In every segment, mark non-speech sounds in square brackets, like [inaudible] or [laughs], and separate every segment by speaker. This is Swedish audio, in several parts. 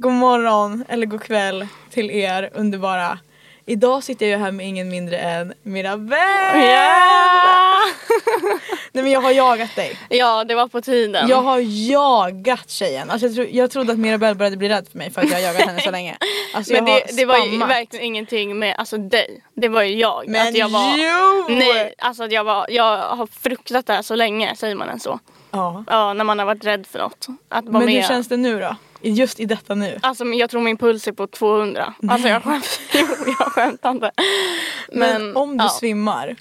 Speaker 1: God morgon eller god kväll till er underbara. Idag sitter jag här med ingen mindre än Mirabelle! [laughs] Nej men jag har jagat dig.
Speaker 2: Ja, det var på tiden.
Speaker 1: Jag har jagat tjejen. Alltså jag, tro, jag trodde att Mirabelle började bli rädd för mig för att jag har jagat henne så länge. Alltså jag
Speaker 2: men det,
Speaker 1: har
Speaker 2: det var ju
Speaker 1: spammat.
Speaker 2: verkligen ingenting med alltså, dig. Det var ju jag.
Speaker 1: Men
Speaker 2: att jag var,
Speaker 1: jo!
Speaker 2: Nej, alltså att jag, var, jag har fruktat det här så länge, säger man än så?
Speaker 1: Ja.
Speaker 2: Ja, när man har varit rädd för något. Att vara
Speaker 1: Men
Speaker 2: med.
Speaker 1: hur känns det nu då? Just i detta nu?
Speaker 2: Alltså men jag tror min puls är på 200. Alltså jag skämt, [laughs] jo, jag skämtar inte.
Speaker 1: Men, om du
Speaker 2: ja.
Speaker 1: svimmar,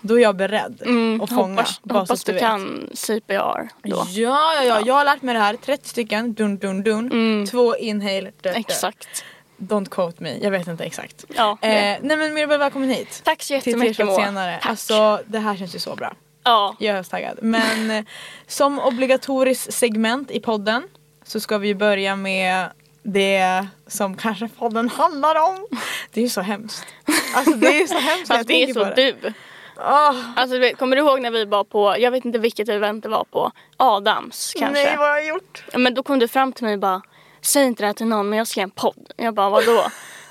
Speaker 1: då är jag beredd
Speaker 2: Mm,
Speaker 1: och fångar.
Speaker 2: hoppas,
Speaker 1: bara så
Speaker 2: hoppas
Speaker 1: att
Speaker 2: du
Speaker 1: vet.
Speaker 2: kan CPR då.
Speaker 1: Ja, ja, ja, jag har lärt mig det här. 30 stycken, dun dun dun. Två inhale, dun, dun.
Speaker 2: Mm. Exakt.
Speaker 1: Don't quote me, jag vet inte exakt.
Speaker 2: Ja,
Speaker 1: Eh,
Speaker 2: det.
Speaker 1: nej men Mirabel, välkommen hit.
Speaker 2: Tack så
Speaker 1: Till
Speaker 2: jättemycket
Speaker 1: T-shirt
Speaker 2: Moa.
Speaker 1: senare.
Speaker 2: Tack.
Speaker 1: Alltså det här känns ju så bra.
Speaker 2: ja.
Speaker 1: Jag är så taggad. Men eh, som obligatoriskt segment i podden så ska vi ju börja med det som kanske podden handlar om. Det är ju så hemskt. Alltså det är ju så hemskt när jag
Speaker 2: Fast det är
Speaker 1: tänker
Speaker 2: så
Speaker 1: på det.
Speaker 2: du.
Speaker 1: Åh,
Speaker 2: Alltså, du vet, kommer du ihåg när vi var på, jag vet inte vilket event det var på, Adams kanske?
Speaker 1: nej vad har jag gjort?
Speaker 2: Men då kom du fram till mig och bara, säg inte det här till någon men jag ska göra en podd. Jag bara, vadå?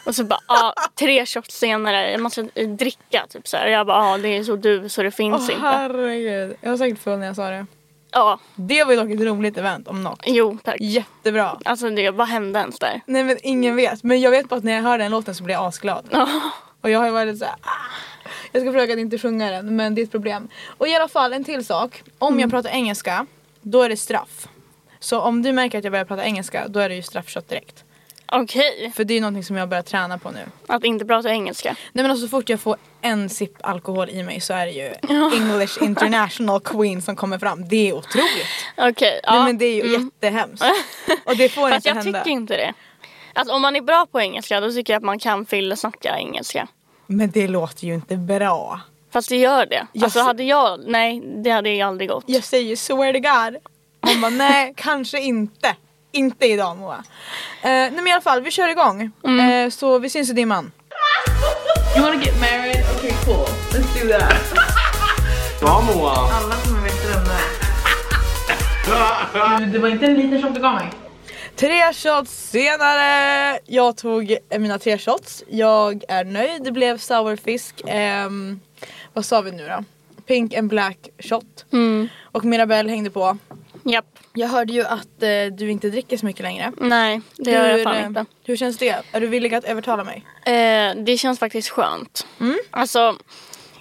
Speaker 2: Och så bara, ah, tre shots senare, man ska eh, dricka typ så här. Jag bara, ja ah, det är så du så det
Speaker 1: Åh
Speaker 2: finns inte.
Speaker 1: herregud, jag var säkert full när jag sa det.
Speaker 2: Ja,
Speaker 1: Det var ju dock ett roligt event om något.
Speaker 2: jo tack.
Speaker 1: Jättebra.
Speaker 2: Alltså det, vad hände ens där?
Speaker 1: Nej men ingen vet, men jag vet bara att när jag hör den låten så blir jag asglad.
Speaker 2: Ja.
Speaker 1: Och jag har ju varit lite såhär, ah. jag ska försöka att inte sjunga den men det är ett problem. Och i alla fall en till sak, om jag
Speaker 2: Mm.
Speaker 1: pratar engelska då är det straff. Så om du märker att jag börjar prata engelska då är det ju straffkött direkt.
Speaker 2: Okej,
Speaker 1: För det är ju någonting som jag börjar träna på nu.
Speaker 2: att inte prata engelska.
Speaker 1: Nej men alltså så fort jag får en sipp alkohol i mig så är det ju English international queen som kommer fram. Det är otroligt.
Speaker 2: Okej, ja. Mm.
Speaker 1: Nej men det är ju
Speaker 2: [laughs]
Speaker 1: jättehemskt. Och det får
Speaker 2: Fast
Speaker 1: inte
Speaker 2: jag
Speaker 1: hända.
Speaker 2: tycker inte det. Alltså om man är bra på engelska då tycker jag att man kan fyllesnacka engelska.
Speaker 1: Men det låter ju inte bra.
Speaker 2: Fast det gör det.
Speaker 1: Jag
Speaker 2: alltså
Speaker 1: ser-
Speaker 2: hade jag, nej det hade ju aldrig gått.
Speaker 1: jag säger swear to God. Hon bara nej, kanske inte. Inte idag Moa. Eh, nej men i alla fall, vi kör igång. Eh, så vi syns i dimman. You wanna get married? Okay cool, let's do that.
Speaker 3: Ja Moa!
Speaker 1: Alla kommer veta vem det är. Det var inte en liten shot du gav mig. Tre shots senare! Jag tog eh, mina tre shots. Jag är nöjd. Det blev sourfisk. ehm, vad sa vi nu då? Pink and black shot.
Speaker 2: Mm.
Speaker 1: Och Mirabelle hängde på.
Speaker 2: Japp.
Speaker 1: Jag hörde ju att eh, du inte dricker så mycket längre.
Speaker 2: Nej, det gör jag fan
Speaker 1: eh,
Speaker 2: inte.
Speaker 1: hur känns det? Är du villig att övertala mig?
Speaker 2: Eh, det känns faktiskt skönt.
Speaker 1: Mm.
Speaker 2: Alltså,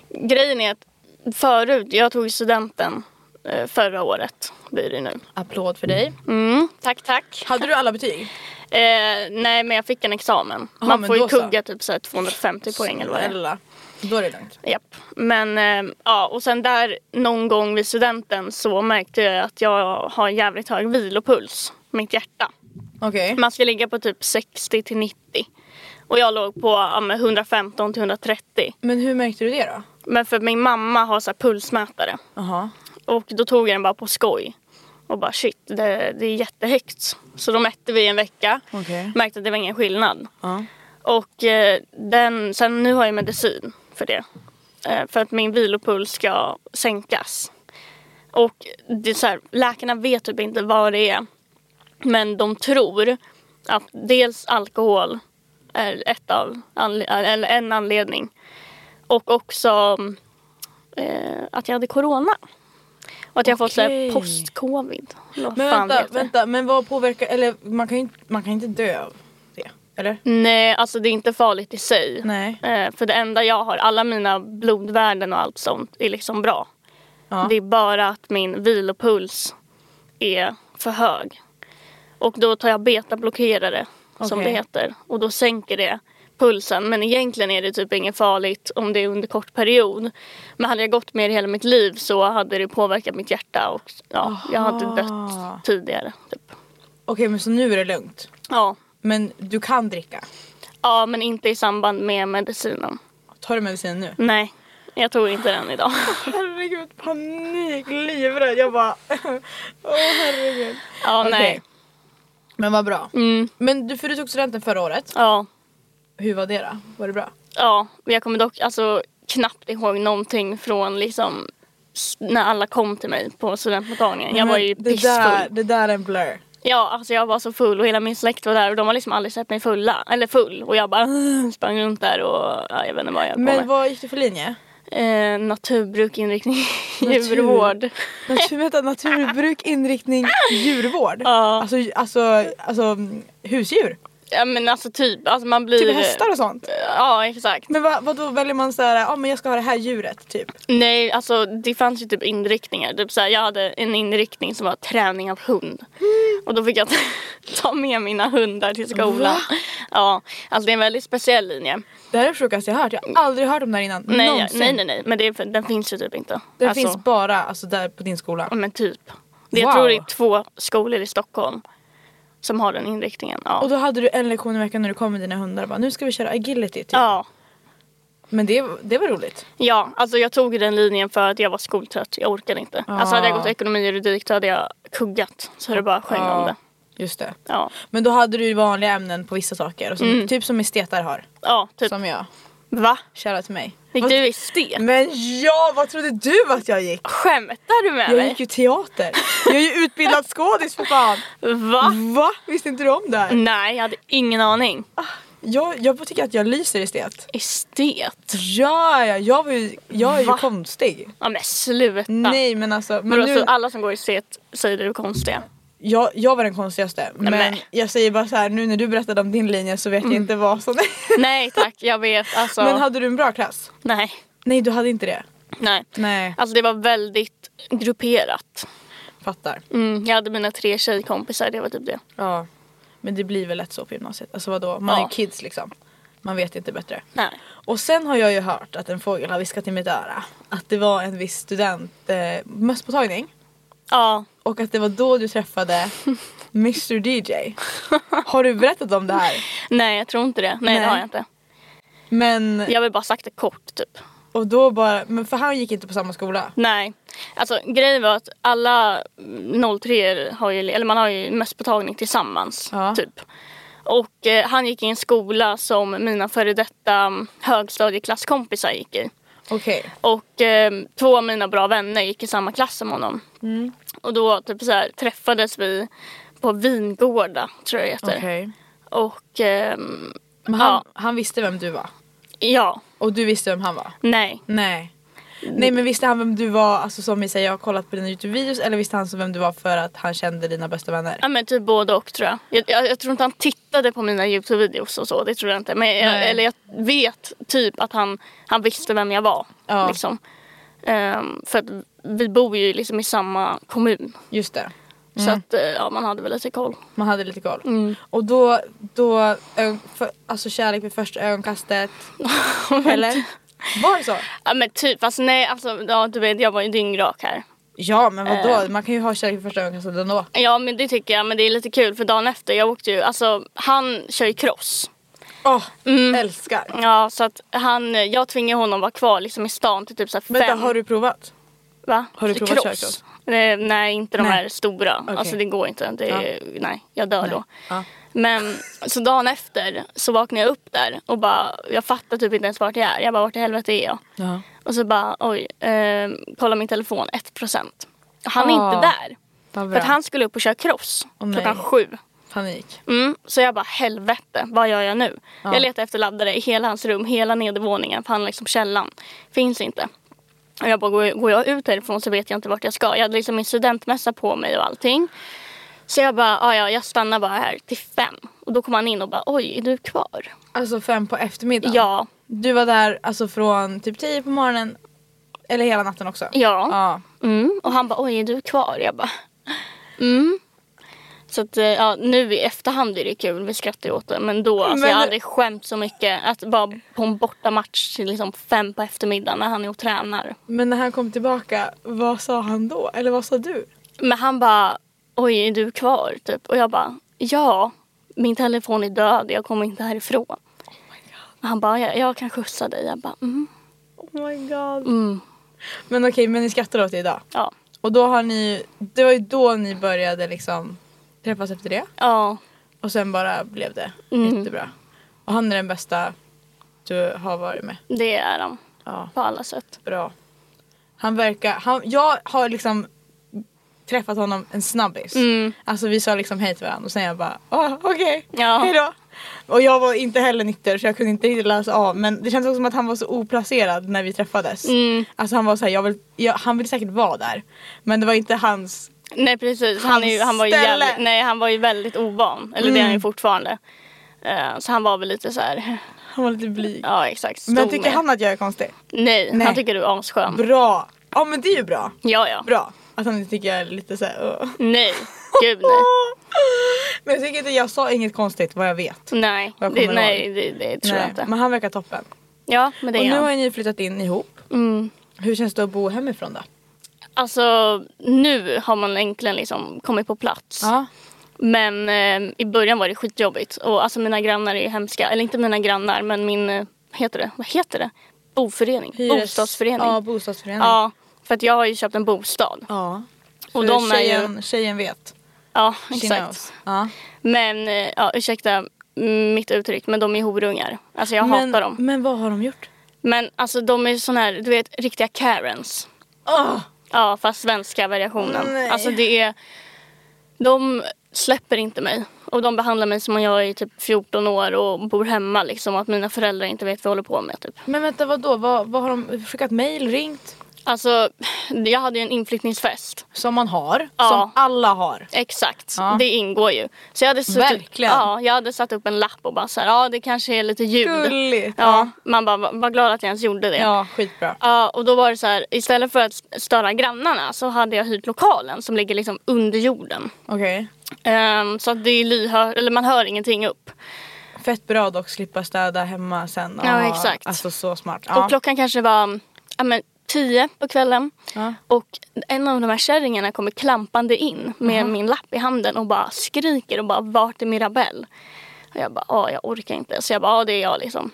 Speaker 2: grejen är att förut, jag tog studenten eh, förra året. Blir det nu.
Speaker 1: Applåd för dig.
Speaker 2: Mm, tack, tack.
Speaker 1: Hade du alla [laughs] betyg?
Speaker 2: Eh, nej, men jag fick en examen.
Speaker 1: Ja,
Speaker 2: Man
Speaker 1: men
Speaker 2: får ju
Speaker 1: då så.
Speaker 2: kugga typ så här 250 poäng eller vad det är.
Speaker 1: Snälla. Då är det lugnt.
Speaker 2: Japp. Men eh, ja, och sen där någon gång vid studenten så märkte jag att jag har jävligt hög vilopuls. Mitt hjärta.
Speaker 1: Okej.
Speaker 2: Man ska ligga på typ 60 till 90. Och jag låg på ja, men 115 till 130.
Speaker 1: Men hur märkte du det då?
Speaker 2: Men för min mamma har så här pulsmätare.
Speaker 1: Jaha.
Speaker 2: Och då tog jag den bara på skoj. Och bara shit, det, det är jättehögt. Så då mätte vi en vecka.
Speaker 1: Okej.
Speaker 2: Märkte att det var ingen skillnad.
Speaker 1: Ja.
Speaker 2: Och eh, den, sen nu har jag medicin för det. Eh, för att min vilopuls ska sänkas. Och det är så här, läkarna vet typ inte vad det är. Men de tror att dels alkohol är ett av, anle- eller en anledning. Och också eh, att jag hade corona. Och att jag har fått så här
Speaker 1: Okej.
Speaker 2: post-covid. Eller vad
Speaker 1: Men
Speaker 2: fan det
Speaker 1: vänta,
Speaker 2: heter.
Speaker 1: vänta. Men vad påverkar, eller man kan ju inte, man kan inte dö av det. Eller?
Speaker 2: Nej, alltså det är inte farligt i sig.
Speaker 1: Nej.
Speaker 2: Eh, för det enda jag har, alla mina blodvärden och allt sånt är liksom bra.
Speaker 1: Ja.
Speaker 2: Det är bara att min vilopuls är för hög. Och då tar jag betablockerare som
Speaker 1: Okej.
Speaker 2: det heter och då sänker det pulsen. Men egentligen är det typ inget farligt om det är under kort period. Men hade jag gått med det hela mitt liv så hade det påverkat mitt hjärta och ja, jag hade
Speaker 1: Aha.
Speaker 2: dött tidigare. Typ.
Speaker 1: Okej men så nu är det lugnt.
Speaker 2: Ja.
Speaker 1: Men du kan dricka.
Speaker 2: ja, men inte i samband med medicinen.
Speaker 1: Tar du medicinen nu?
Speaker 2: Nej, jag tog inte den idag. [laughs]
Speaker 1: Herregud panik, livrädd. Jag bara [laughs] åh herregud.
Speaker 2: Ja,
Speaker 1: Okej.
Speaker 2: nej.
Speaker 1: Men vad bra.
Speaker 2: Mm,
Speaker 1: Men du, för du tog studenten förra året.
Speaker 2: ja.
Speaker 1: Hur var det då? Var det bra?
Speaker 2: Ja, men jag kommer dock alltså, knappt ihåg någonting från liksom s- när alla kom till mig på studentmottagningen. Jag var ju
Speaker 1: Men det där,
Speaker 2: pissfull.
Speaker 1: det där är en blur.
Speaker 2: Ja, alltså jag var så full och hela min släkt var där och de har liksom aldrig sett mig fulla, eller full och jag bara sprang runt där och ja, jag vet inte vad jag höll på
Speaker 1: Men
Speaker 2: med.
Speaker 1: vad gick du för
Speaker 2: [laughs]
Speaker 1: linje?
Speaker 2: Eh, naturbruk, inriktning,
Speaker 1: Natur.
Speaker 2: djurvård.
Speaker 1: Natur, vänta, naturbruk, inriktning, djurvård?
Speaker 2: Ja.
Speaker 1: Alltså, alltså, alltså mm, husdjur?
Speaker 2: Ja men alltså typ, alltså man blir...
Speaker 1: Typ hästar och sånt?
Speaker 2: Ja exakt.
Speaker 1: Men vad, vad då väljer man såhär, ja men jag ska ha det här djuret typ?
Speaker 2: Nej, alltså det fanns ju typ inriktningar. Typ så här, jag hade en inriktning som var träning av hund. Och då fick jag ta [laughs] med mina hundar till skolan. Ja, alltså det är en väldigt speciell linje.
Speaker 1: Det här är det sjukaste jag har hört, jag har aldrig hört om det här innan.
Speaker 2: Nej, jag,
Speaker 1: Någonsin.
Speaker 2: nej, nej, nej, men det, är- den finns ju typ inte.
Speaker 1: Det
Speaker 2: alltså,
Speaker 1: finns bara alltså, där på din skola.
Speaker 2: ja, Men typ. Det,
Speaker 1: Wow.
Speaker 2: Jag tror det är två skolor i Stockholm som har den inriktningen. Ja.
Speaker 1: Och då hade du en lektion i veckan när du kom med dina hundar och bara, nu ska vi köra agility typ.
Speaker 2: ja.
Speaker 1: Men det, det var roligt.
Speaker 2: Ja, alltså jag tog den linjen för att jag var skoltrött. Jag orkade inte. Alltså hade jag
Speaker 1: Ah.
Speaker 2: gått ekonomi och juridik då hade jag kuggat. Så det bara sjöng om det.
Speaker 1: Just det.
Speaker 2: Ja,
Speaker 1: Men då hade du ju vanliga ämnen på vissa saker. Och så, Typ som estetar har.
Speaker 2: ja Mm. typ.
Speaker 1: Som jag.
Speaker 2: Va?
Speaker 1: Kära till mig.
Speaker 2: Gick
Speaker 1: Vad-
Speaker 2: du estet?
Speaker 1: Men ja, vad trodde du att jag gick?
Speaker 2: Skämtar du med
Speaker 1: Jag
Speaker 2: mig?
Speaker 1: gick ju teater. Jag är ju utbildad skådis för fan.
Speaker 2: Va?
Speaker 1: Va? Visste inte du om det här?
Speaker 2: Nej, jag hade ingen aning.
Speaker 1: Jag, jag tycker att jag lyser i estet.
Speaker 2: Estet?
Speaker 1: Ja, ja, jag, var ju, jag är ju
Speaker 2: Va?
Speaker 1: konstig.
Speaker 2: Ja men sluta.
Speaker 1: Nej men alltså, men
Speaker 2: Men
Speaker 1: nu,
Speaker 2: alltså, alla som går i estet säger du är konstiga.
Speaker 1: jag, jag var den konstigaste. Men,
Speaker 2: men. Mm.
Speaker 1: jag säger bara så här, nu när du berättade om din linje så vet jag inte vad
Speaker 2: [laughs]
Speaker 1: som
Speaker 2: Nej tack, jag vet. Alltså,
Speaker 1: Men hade du en bra klass?
Speaker 2: nej.
Speaker 1: Nej du hade inte det?
Speaker 2: Nej.
Speaker 1: Nej,
Speaker 2: Alltså det var väldigt grupperat.
Speaker 1: fattar.
Speaker 2: Mm, jag hade mina tre tjejkompisar, det var typ det.
Speaker 1: Ja. Men det blir väl lätt så på gymnasiet. Alltså vadå, man är
Speaker 2: Ja.
Speaker 1: är kids liksom. Man vet inte bättre.
Speaker 2: Nej.
Speaker 1: Och sen har jag ju hört att en fågel har viskat i mitt öra att det var en viss student eh, mösspåtagning
Speaker 2: Ja,
Speaker 1: och att det var då du
Speaker 2: [laughs]
Speaker 1: träffade Mr DJ. Har du berättat om det här?
Speaker 2: Nej, jag tror inte det. Nej,
Speaker 1: Nej.
Speaker 2: det har jag inte.
Speaker 1: Men,
Speaker 2: Jag har väl bara sagt det kort, typ.
Speaker 1: och då bara, men för han gick inte på samma skola.
Speaker 2: Nej. Alltså, grejen var att alla 03 har ju, eller man har ju mösspåtagning tillsammans,
Speaker 1: Ja.
Speaker 2: typ. Och eh, han gick i en skola som mina före detta mm, högstadieklasskompisar gick i.
Speaker 1: Okej.
Speaker 2: Och eh, två av mina bra vänner gick i samma klass som honom. Och då typ så här, träffades vi på Vingårda, tror jag det heter. Och ehm,
Speaker 1: Men han,
Speaker 2: Ja.
Speaker 1: han visste vem du var
Speaker 2: ja,
Speaker 1: och du visste vem han var.
Speaker 2: nej.
Speaker 1: Nej. Nej men visste han vem du var, alltså som vi säger jag har kollat på dina Youtube-videos eller visste han så vem du var för att han kände dina bästa vänner?
Speaker 2: Ja men typ både och tror jag. Jag, jag. jag tror inte han tittade på mina Youtube-videos och så, det tror jag inte. Men jag,
Speaker 1: Nej.
Speaker 2: eller jag vet typ att han, han visste vem jag var.
Speaker 1: Ja.
Speaker 2: Liksom. Ehm, för att vi bor ju liksom i samma kommun.
Speaker 1: Just det. Mm.
Speaker 2: Så att eh, ja, man hade väl lite koll.
Speaker 1: Man hade lite koll. Och då, då ö- för, alltså kärlek vid första [laughs] ögonkastet. eller? Var det så?
Speaker 2: Ja men typ, alltså nej alltså ja, du vet jag var ju dyngrak här.
Speaker 1: Ja men vadå, man kan ju ha kärlek vid första ögonkastet ändå.
Speaker 2: Ja men det tycker jag, men det är lite kul för dagen efter, jag åkte ju, alltså han kör ju cross.
Speaker 1: Åh, Mm. älskar.
Speaker 2: Ja så att han, jag tvingade honom vara kvar liksom i stan till typ så här fem.
Speaker 1: Vänta, har du provat?
Speaker 2: Va?
Speaker 1: Har du provat körkross?
Speaker 2: Eh, Nej, inte de
Speaker 1: Nej.
Speaker 2: här stora.
Speaker 1: Okej.
Speaker 2: Alltså det går inte. Det, Nej, jag dör då.
Speaker 1: Ja.
Speaker 2: Men så dagen efter så vaknade jag upp där och bara, jag fattar typ inte ens vart jag är. Jag bara, vart i helvete är jag?
Speaker 1: Ja.
Speaker 2: Och så bara, oj, eh, kolla min telefon, 1%. Han är
Speaker 1: Ah,
Speaker 2: inte där.
Speaker 1: Vad
Speaker 2: För
Speaker 1: bra.
Speaker 2: att han skulle upp och köra cross
Speaker 1: Åh,
Speaker 2: klockan
Speaker 1: nej.
Speaker 2: sju.
Speaker 1: Panik.
Speaker 2: Mm, så jag bara, helvete, vad gör jag nu?
Speaker 1: Ja.
Speaker 2: Jag letar efter laddare i hela hans rum, hela nedervåningen, för han liksom källan. Finns inte. Och jag bara, går går jag ut härifrån så vet jag inte vart jag ska. Jag hade liksom min studentmössa på mig och allting. Så jag bara, "Ja, ja, jag stannar bara här till fem. Och då kom han in och bara, oj, är du kvar?
Speaker 1: Alltså fem på eftermiddagen?
Speaker 2: Ja,
Speaker 1: Du var där alltså från typ 10 på morgonen eller hela natten också?
Speaker 2: ja.
Speaker 1: Ja.
Speaker 2: Mm. Och han bara, oj, är du kvar? Jag bara, mm. Så att, eh, ja, nu i efterhand är det kul, vi skrattar ju åt det. Men då, alltså,
Speaker 1: Men-
Speaker 2: jag har aldrig skämt så mycket. Att vara på en bortamatch till liksom fem på eftermiddagen när han är och tränar.
Speaker 1: Men när han kom tillbaka, vad sa han då? Eller vad sa du?
Speaker 2: Men han bara, oj är du kvar? Typ. Och jag bara ja, min telefon är död, jag kommer inte härifrån. Och han bara jag, jag kan skjutsa dig. Jag bara mm.
Speaker 1: Oh my god.
Speaker 2: mm.
Speaker 1: Men okej, men ni skrattar åt det idag?
Speaker 2: Ja.
Speaker 1: Och då har ni, det var ju då ni började liksom träffas efter det.
Speaker 2: ja,
Speaker 1: Och sen bara blev det
Speaker 2: Mm.
Speaker 1: jättebra. Och han är den bästa du har varit med.
Speaker 2: det är de
Speaker 1: Ja,
Speaker 2: på alla sätt.
Speaker 1: bra. Han verkar, han, jag har liksom träffat honom en snabbis.
Speaker 2: Mm.
Speaker 1: Alltså vi sa liksom hej till varandra och sen jag bara ah, okej,
Speaker 2: Ja.
Speaker 1: hejdå. Och jag var inte heller nykter så jag kunde inte riktigt läsa av men det kändes också som att han var så oplacerad när vi träffades.
Speaker 2: Mm.
Speaker 1: Alltså han var såhär, jag vill, jag, han vill säkert vara där. Men det var inte hans,
Speaker 2: Nej precis, han, är ju, han, var ju
Speaker 1: Hans ställe. Mm.
Speaker 2: jävligt, nej, han var ju väldigt ovan. Eller det är han ju fortfarande. Eh, så han var väl lite så här,
Speaker 1: han var lite blyg.
Speaker 2: ja exakt.
Speaker 1: men
Speaker 2: stod
Speaker 1: tycker
Speaker 2: med.
Speaker 1: han att jag är konstig?
Speaker 2: Nej,
Speaker 1: Nej.
Speaker 2: han tycker du är asskön.
Speaker 1: Bra! Ja men det är ju bra.
Speaker 2: ja ja.
Speaker 1: Bra. Att han inte tycker jag är lite såhär uh.
Speaker 2: Nej, gud
Speaker 1: [laughs]
Speaker 2: nej.
Speaker 1: Men jag tycker inte, jag sa inget konstigt vad jag vet.
Speaker 2: Nej,
Speaker 1: Vad
Speaker 2: det,
Speaker 1: kommer det
Speaker 2: nej det, det tror jag inte.
Speaker 1: Men han verkar toppen.
Speaker 2: Ja, men det
Speaker 1: Och nu
Speaker 2: är
Speaker 1: har
Speaker 2: han.
Speaker 1: ju ni flyttat in ihop.
Speaker 2: Mm.
Speaker 1: Hur känns det att bo hemifrån då?
Speaker 2: Alltså, nu har man äntligen liksom kommit på plats.
Speaker 1: Ja.
Speaker 2: Men eh, i början var det skitjobbigt. Och alltså mina grannar är ju hemska. Eller inte mina grannar, men min, eh, vad heter det? Vad heter det? Boförening?
Speaker 1: Hyres-
Speaker 2: Bostadsförening.
Speaker 1: Ja, bostadsförening.
Speaker 2: Ja, för att jag har ju köpt en bostad.
Speaker 1: Ja.
Speaker 2: Och
Speaker 1: För
Speaker 2: de är ju...
Speaker 1: tjejen, tjejen vet.
Speaker 2: Ja,
Speaker 1: She
Speaker 2: exakt.
Speaker 1: knows. Ja.
Speaker 2: Men, eh, ja, ursäkta mitt uttryck, men de är horungar. Alltså jag
Speaker 1: men,
Speaker 2: hatar dem.
Speaker 1: Men vad har de gjort?
Speaker 2: Men alltså de är sån här, du vet, riktiga karens.
Speaker 1: Åh!
Speaker 2: Ja, fast svenska variationen.
Speaker 1: Nej.
Speaker 2: Alltså det är... De släpper inte mig. Och de behandlar mig som om jag är typ 14 år och bor hemma liksom. Och att mina föräldrar inte vet vad jag håller på med typ.
Speaker 1: Men vänta vadå? Vad, vad har de skickat mejl, ringt?
Speaker 2: Alltså, jag hade ju en inflyttningsfest.
Speaker 1: Som man har.
Speaker 2: Ja.
Speaker 1: Som alla har.
Speaker 2: Exakt,
Speaker 1: Ja.
Speaker 2: det ingår ju. Så jag hade suttit,
Speaker 1: Verkligen.
Speaker 2: Ja, jag hade satt upp en lapp och bara så här, ja det kanske är lite ljud.
Speaker 1: Gulligt.
Speaker 2: Ja,
Speaker 1: Ja.
Speaker 2: man bara, "Va- vad glad att jag ens gjorde det.
Speaker 1: Ja, skitbra.
Speaker 2: Ja, och då var det så här, istället för att störa grannarna så hade jag hyrt lokalen som ligger liksom under jorden.
Speaker 1: Okej.
Speaker 2: Ehm, så att det är lyhör, eller man hör ingenting upp.
Speaker 1: Fett bra dock, slippa städa hemma sen.
Speaker 2: Ja,
Speaker 1: Ah,
Speaker 2: exakt.
Speaker 1: Alltså så smart.
Speaker 2: Och klockan kanske var ja, men, tio på kvällen.
Speaker 1: Ja.
Speaker 2: Och en av de här kärringarna kommer klampande in med min lapp i handen och bara skriker och bara vart är Mirabelle? Och jag bara ja jag orkar inte. Så jag bara ja det är jag liksom.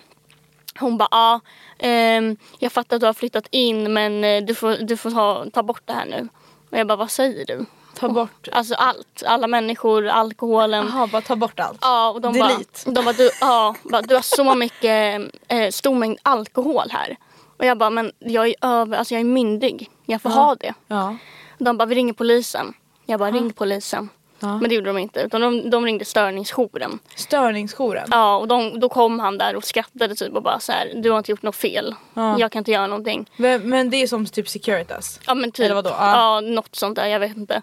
Speaker 2: Hon bara ja ehm, jag fattar att du har flyttat in men eh, du får, du får ta, ta bort det här nu. Och jag bara vad säger du?
Speaker 1: Ta bort.
Speaker 2: Alltså allt, alla människor, alkoholen.
Speaker 1: Jaha, bara ta bort allt.
Speaker 2: Ja, och de
Speaker 1: Delete.
Speaker 2: bara, de bara, du, ja, bara, du har så mycket eh, stor mängd alkohol här. Och jag bara, men jag är över, alltså jag är myndig. Jag får ha det.
Speaker 1: Ja.
Speaker 2: De bara, vi ringer polisen. Jag
Speaker 1: Ah.
Speaker 2: bara, ring polisen.
Speaker 1: Ja.
Speaker 2: Men det gjorde de inte, utan de, de ringde störningsjouren.
Speaker 1: Störningsjouren.
Speaker 2: Ja, och de, då kom han där och skrattade typ och bara så här, du har inte gjort något fel.
Speaker 1: Ja.
Speaker 2: Jag kan inte göra någonting.
Speaker 1: Men, men det är som typ Securitas.
Speaker 2: Ja men typ.
Speaker 1: Eller vadå? Ah. Mm. Ja.
Speaker 2: Ja. något sånt där, jag vet inte.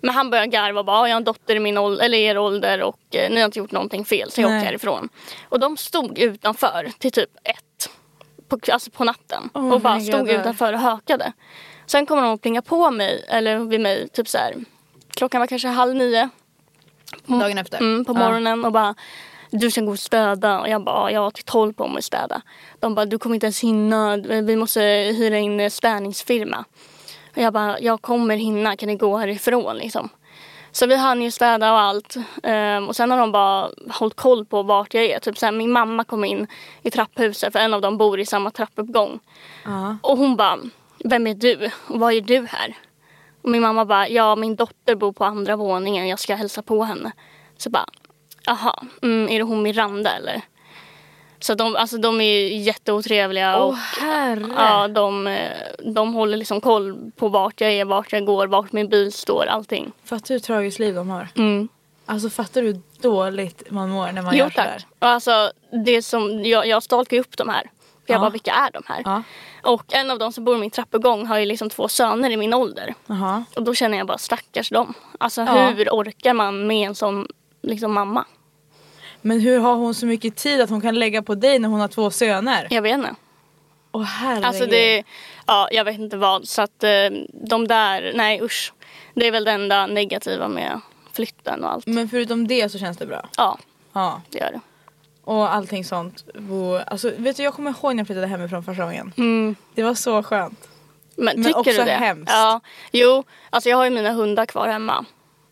Speaker 2: Men han började garva och bara, "Ja, jag har en dotter i min ålder, eller er ålder och eh, ni har inte gjort någonting fel så jag
Speaker 1: Nej.
Speaker 2: åker härifrån. Och de stod utanför till typ ett, på, alltså på natten.
Speaker 1: Oh
Speaker 2: och bara
Speaker 1: my
Speaker 2: stod
Speaker 1: God.
Speaker 2: utanför och hökade. Sen kommer de och plinga på mig, eller vid mig, typ så här. klockan var kanske halv nio
Speaker 1: Dagen efter.
Speaker 2: mm, på
Speaker 1: typ Ja.
Speaker 2: morgonen och bara du ska gå och städa och jag bara "Ja, jag har till tolv på mig att städa. De bara du kommer inte ens hinna, vi måste hyra in eh, städningsfirma. Och jag bara jag kommer hinna, kan ni gå härifrån liksom. Så vi hann ju städa och allt Ehm, och sen har de bara hållit koll på vart jag är. Typ såhär, min mamma kom in i trapphuset för en av dem bor i samma trappuppgång.
Speaker 1: Ja.
Speaker 2: Och hon bara, vem är du? Och vad gör du här? Och min mamma bara, ja min dotter bor på andra våningen, jag ska hälsa på henne. Så bara, aha, mm, är det hon Miranda eller? Så de, alltså, de är ju jätteotrevliga
Speaker 1: Åh
Speaker 2: och
Speaker 1: herre.
Speaker 2: ja, de, eh, de håller liksom koll på vart jag är, vart jag går, vart min bil står, allting.
Speaker 1: Fattar du hur tragiskt liv de har?
Speaker 2: Mm.
Speaker 1: Alltså fattar du hur dåligt man mår när man
Speaker 2: Jo
Speaker 1: gör sådär?
Speaker 2: tack. Och Alltså, det som, jag, jag stalkar ju upp de här. Jag
Speaker 1: Ja.
Speaker 2: bara, vilka är de här?
Speaker 1: Ja.
Speaker 2: Och en av dem som bor i min trappuppgång har ju liksom två söner i min ålder.
Speaker 1: Jaha.
Speaker 2: Och då känner jag bara stackars dem. Alltså
Speaker 1: Ja.
Speaker 2: hur orkar man med en sån liksom, mamma?
Speaker 1: Men hur har hon så mycket tid att hon kan lägga på dig när hon har två söner?
Speaker 2: Jag vet inte.
Speaker 1: Åh herregud.
Speaker 2: Alltså det, ja jag vet inte vad. Så att eh, de där, nej usch. Det är väl det enda negativa med flytten och allt.
Speaker 1: Men förutom det så känns det bra.
Speaker 2: Ja,
Speaker 1: Ja.
Speaker 2: det gör det.
Speaker 1: Och allting sånt. Bo- Alltså, vet du, jag kommer ihåg när jag flyttade hemifrån första gången.
Speaker 2: Mm.
Speaker 1: Det var så skönt.
Speaker 2: Men,
Speaker 1: Men
Speaker 2: tycker
Speaker 1: också
Speaker 2: du det?
Speaker 1: hemskt.
Speaker 2: Ja. Jo, alltså jag har ju mina hundar kvar hemma.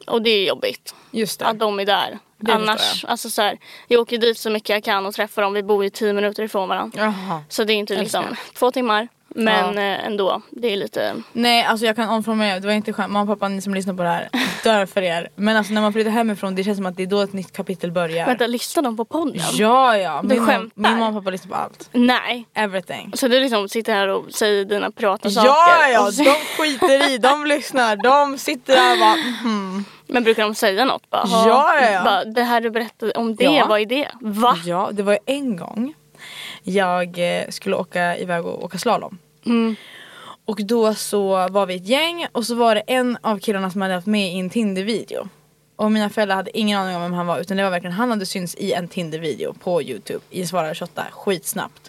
Speaker 2: Och det är jobbigt
Speaker 1: Just det.
Speaker 2: att de är där.
Speaker 1: Det
Speaker 2: Annars,
Speaker 1: förstår
Speaker 2: alltså så här, jag åker dit så mycket jag kan och träffar dem. Vi bor ju tio minuter ifrån varandra.
Speaker 1: Jaha.
Speaker 2: Så det är inte liksom två timmar. Men eh, ändå, det är lite...
Speaker 1: Nej alltså jag kan omformulera, det var inte skämt. Mamma och pappa ni som lyssnar på det här, dör för er. Men alltså när man flyttar hemifrån det känns som att det är då ett nytt kapitel börjar.
Speaker 2: Vänta, lyssnar de på podden?
Speaker 1: Ja ja,
Speaker 2: Du
Speaker 1: min, mam-
Speaker 2: skämtar.
Speaker 1: min mamma och pappa lyssnar på allt.
Speaker 2: Nej.
Speaker 1: Everything.
Speaker 2: Så du liksom sitter här och säger dina privata
Speaker 1: Ja
Speaker 2: saker?
Speaker 1: ja,
Speaker 2: Och så-
Speaker 1: de skiter i,
Speaker 2: [laughs]
Speaker 1: de lyssnar, de sitter där och bara mhm.
Speaker 2: Men brukar de säga något? Bara, "Ha,
Speaker 1: Ja, ja, ja."
Speaker 2: Bara, det här du berättade om det,
Speaker 1: Ja.
Speaker 2: vad är det? Va?
Speaker 1: Ja, det var ju en gång jag eh, skulle åka iväg och åka slalom.
Speaker 2: Mm.
Speaker 1: Och då så var vi ett gäng och så var det en av killarna som hade haft med i en Tinder-video. Och mina föräldrar hade ingen aning om vem han var utan det var verkligen han hade synts i en Tinder-video på Youtube i Svarar 28 skitsnabbt.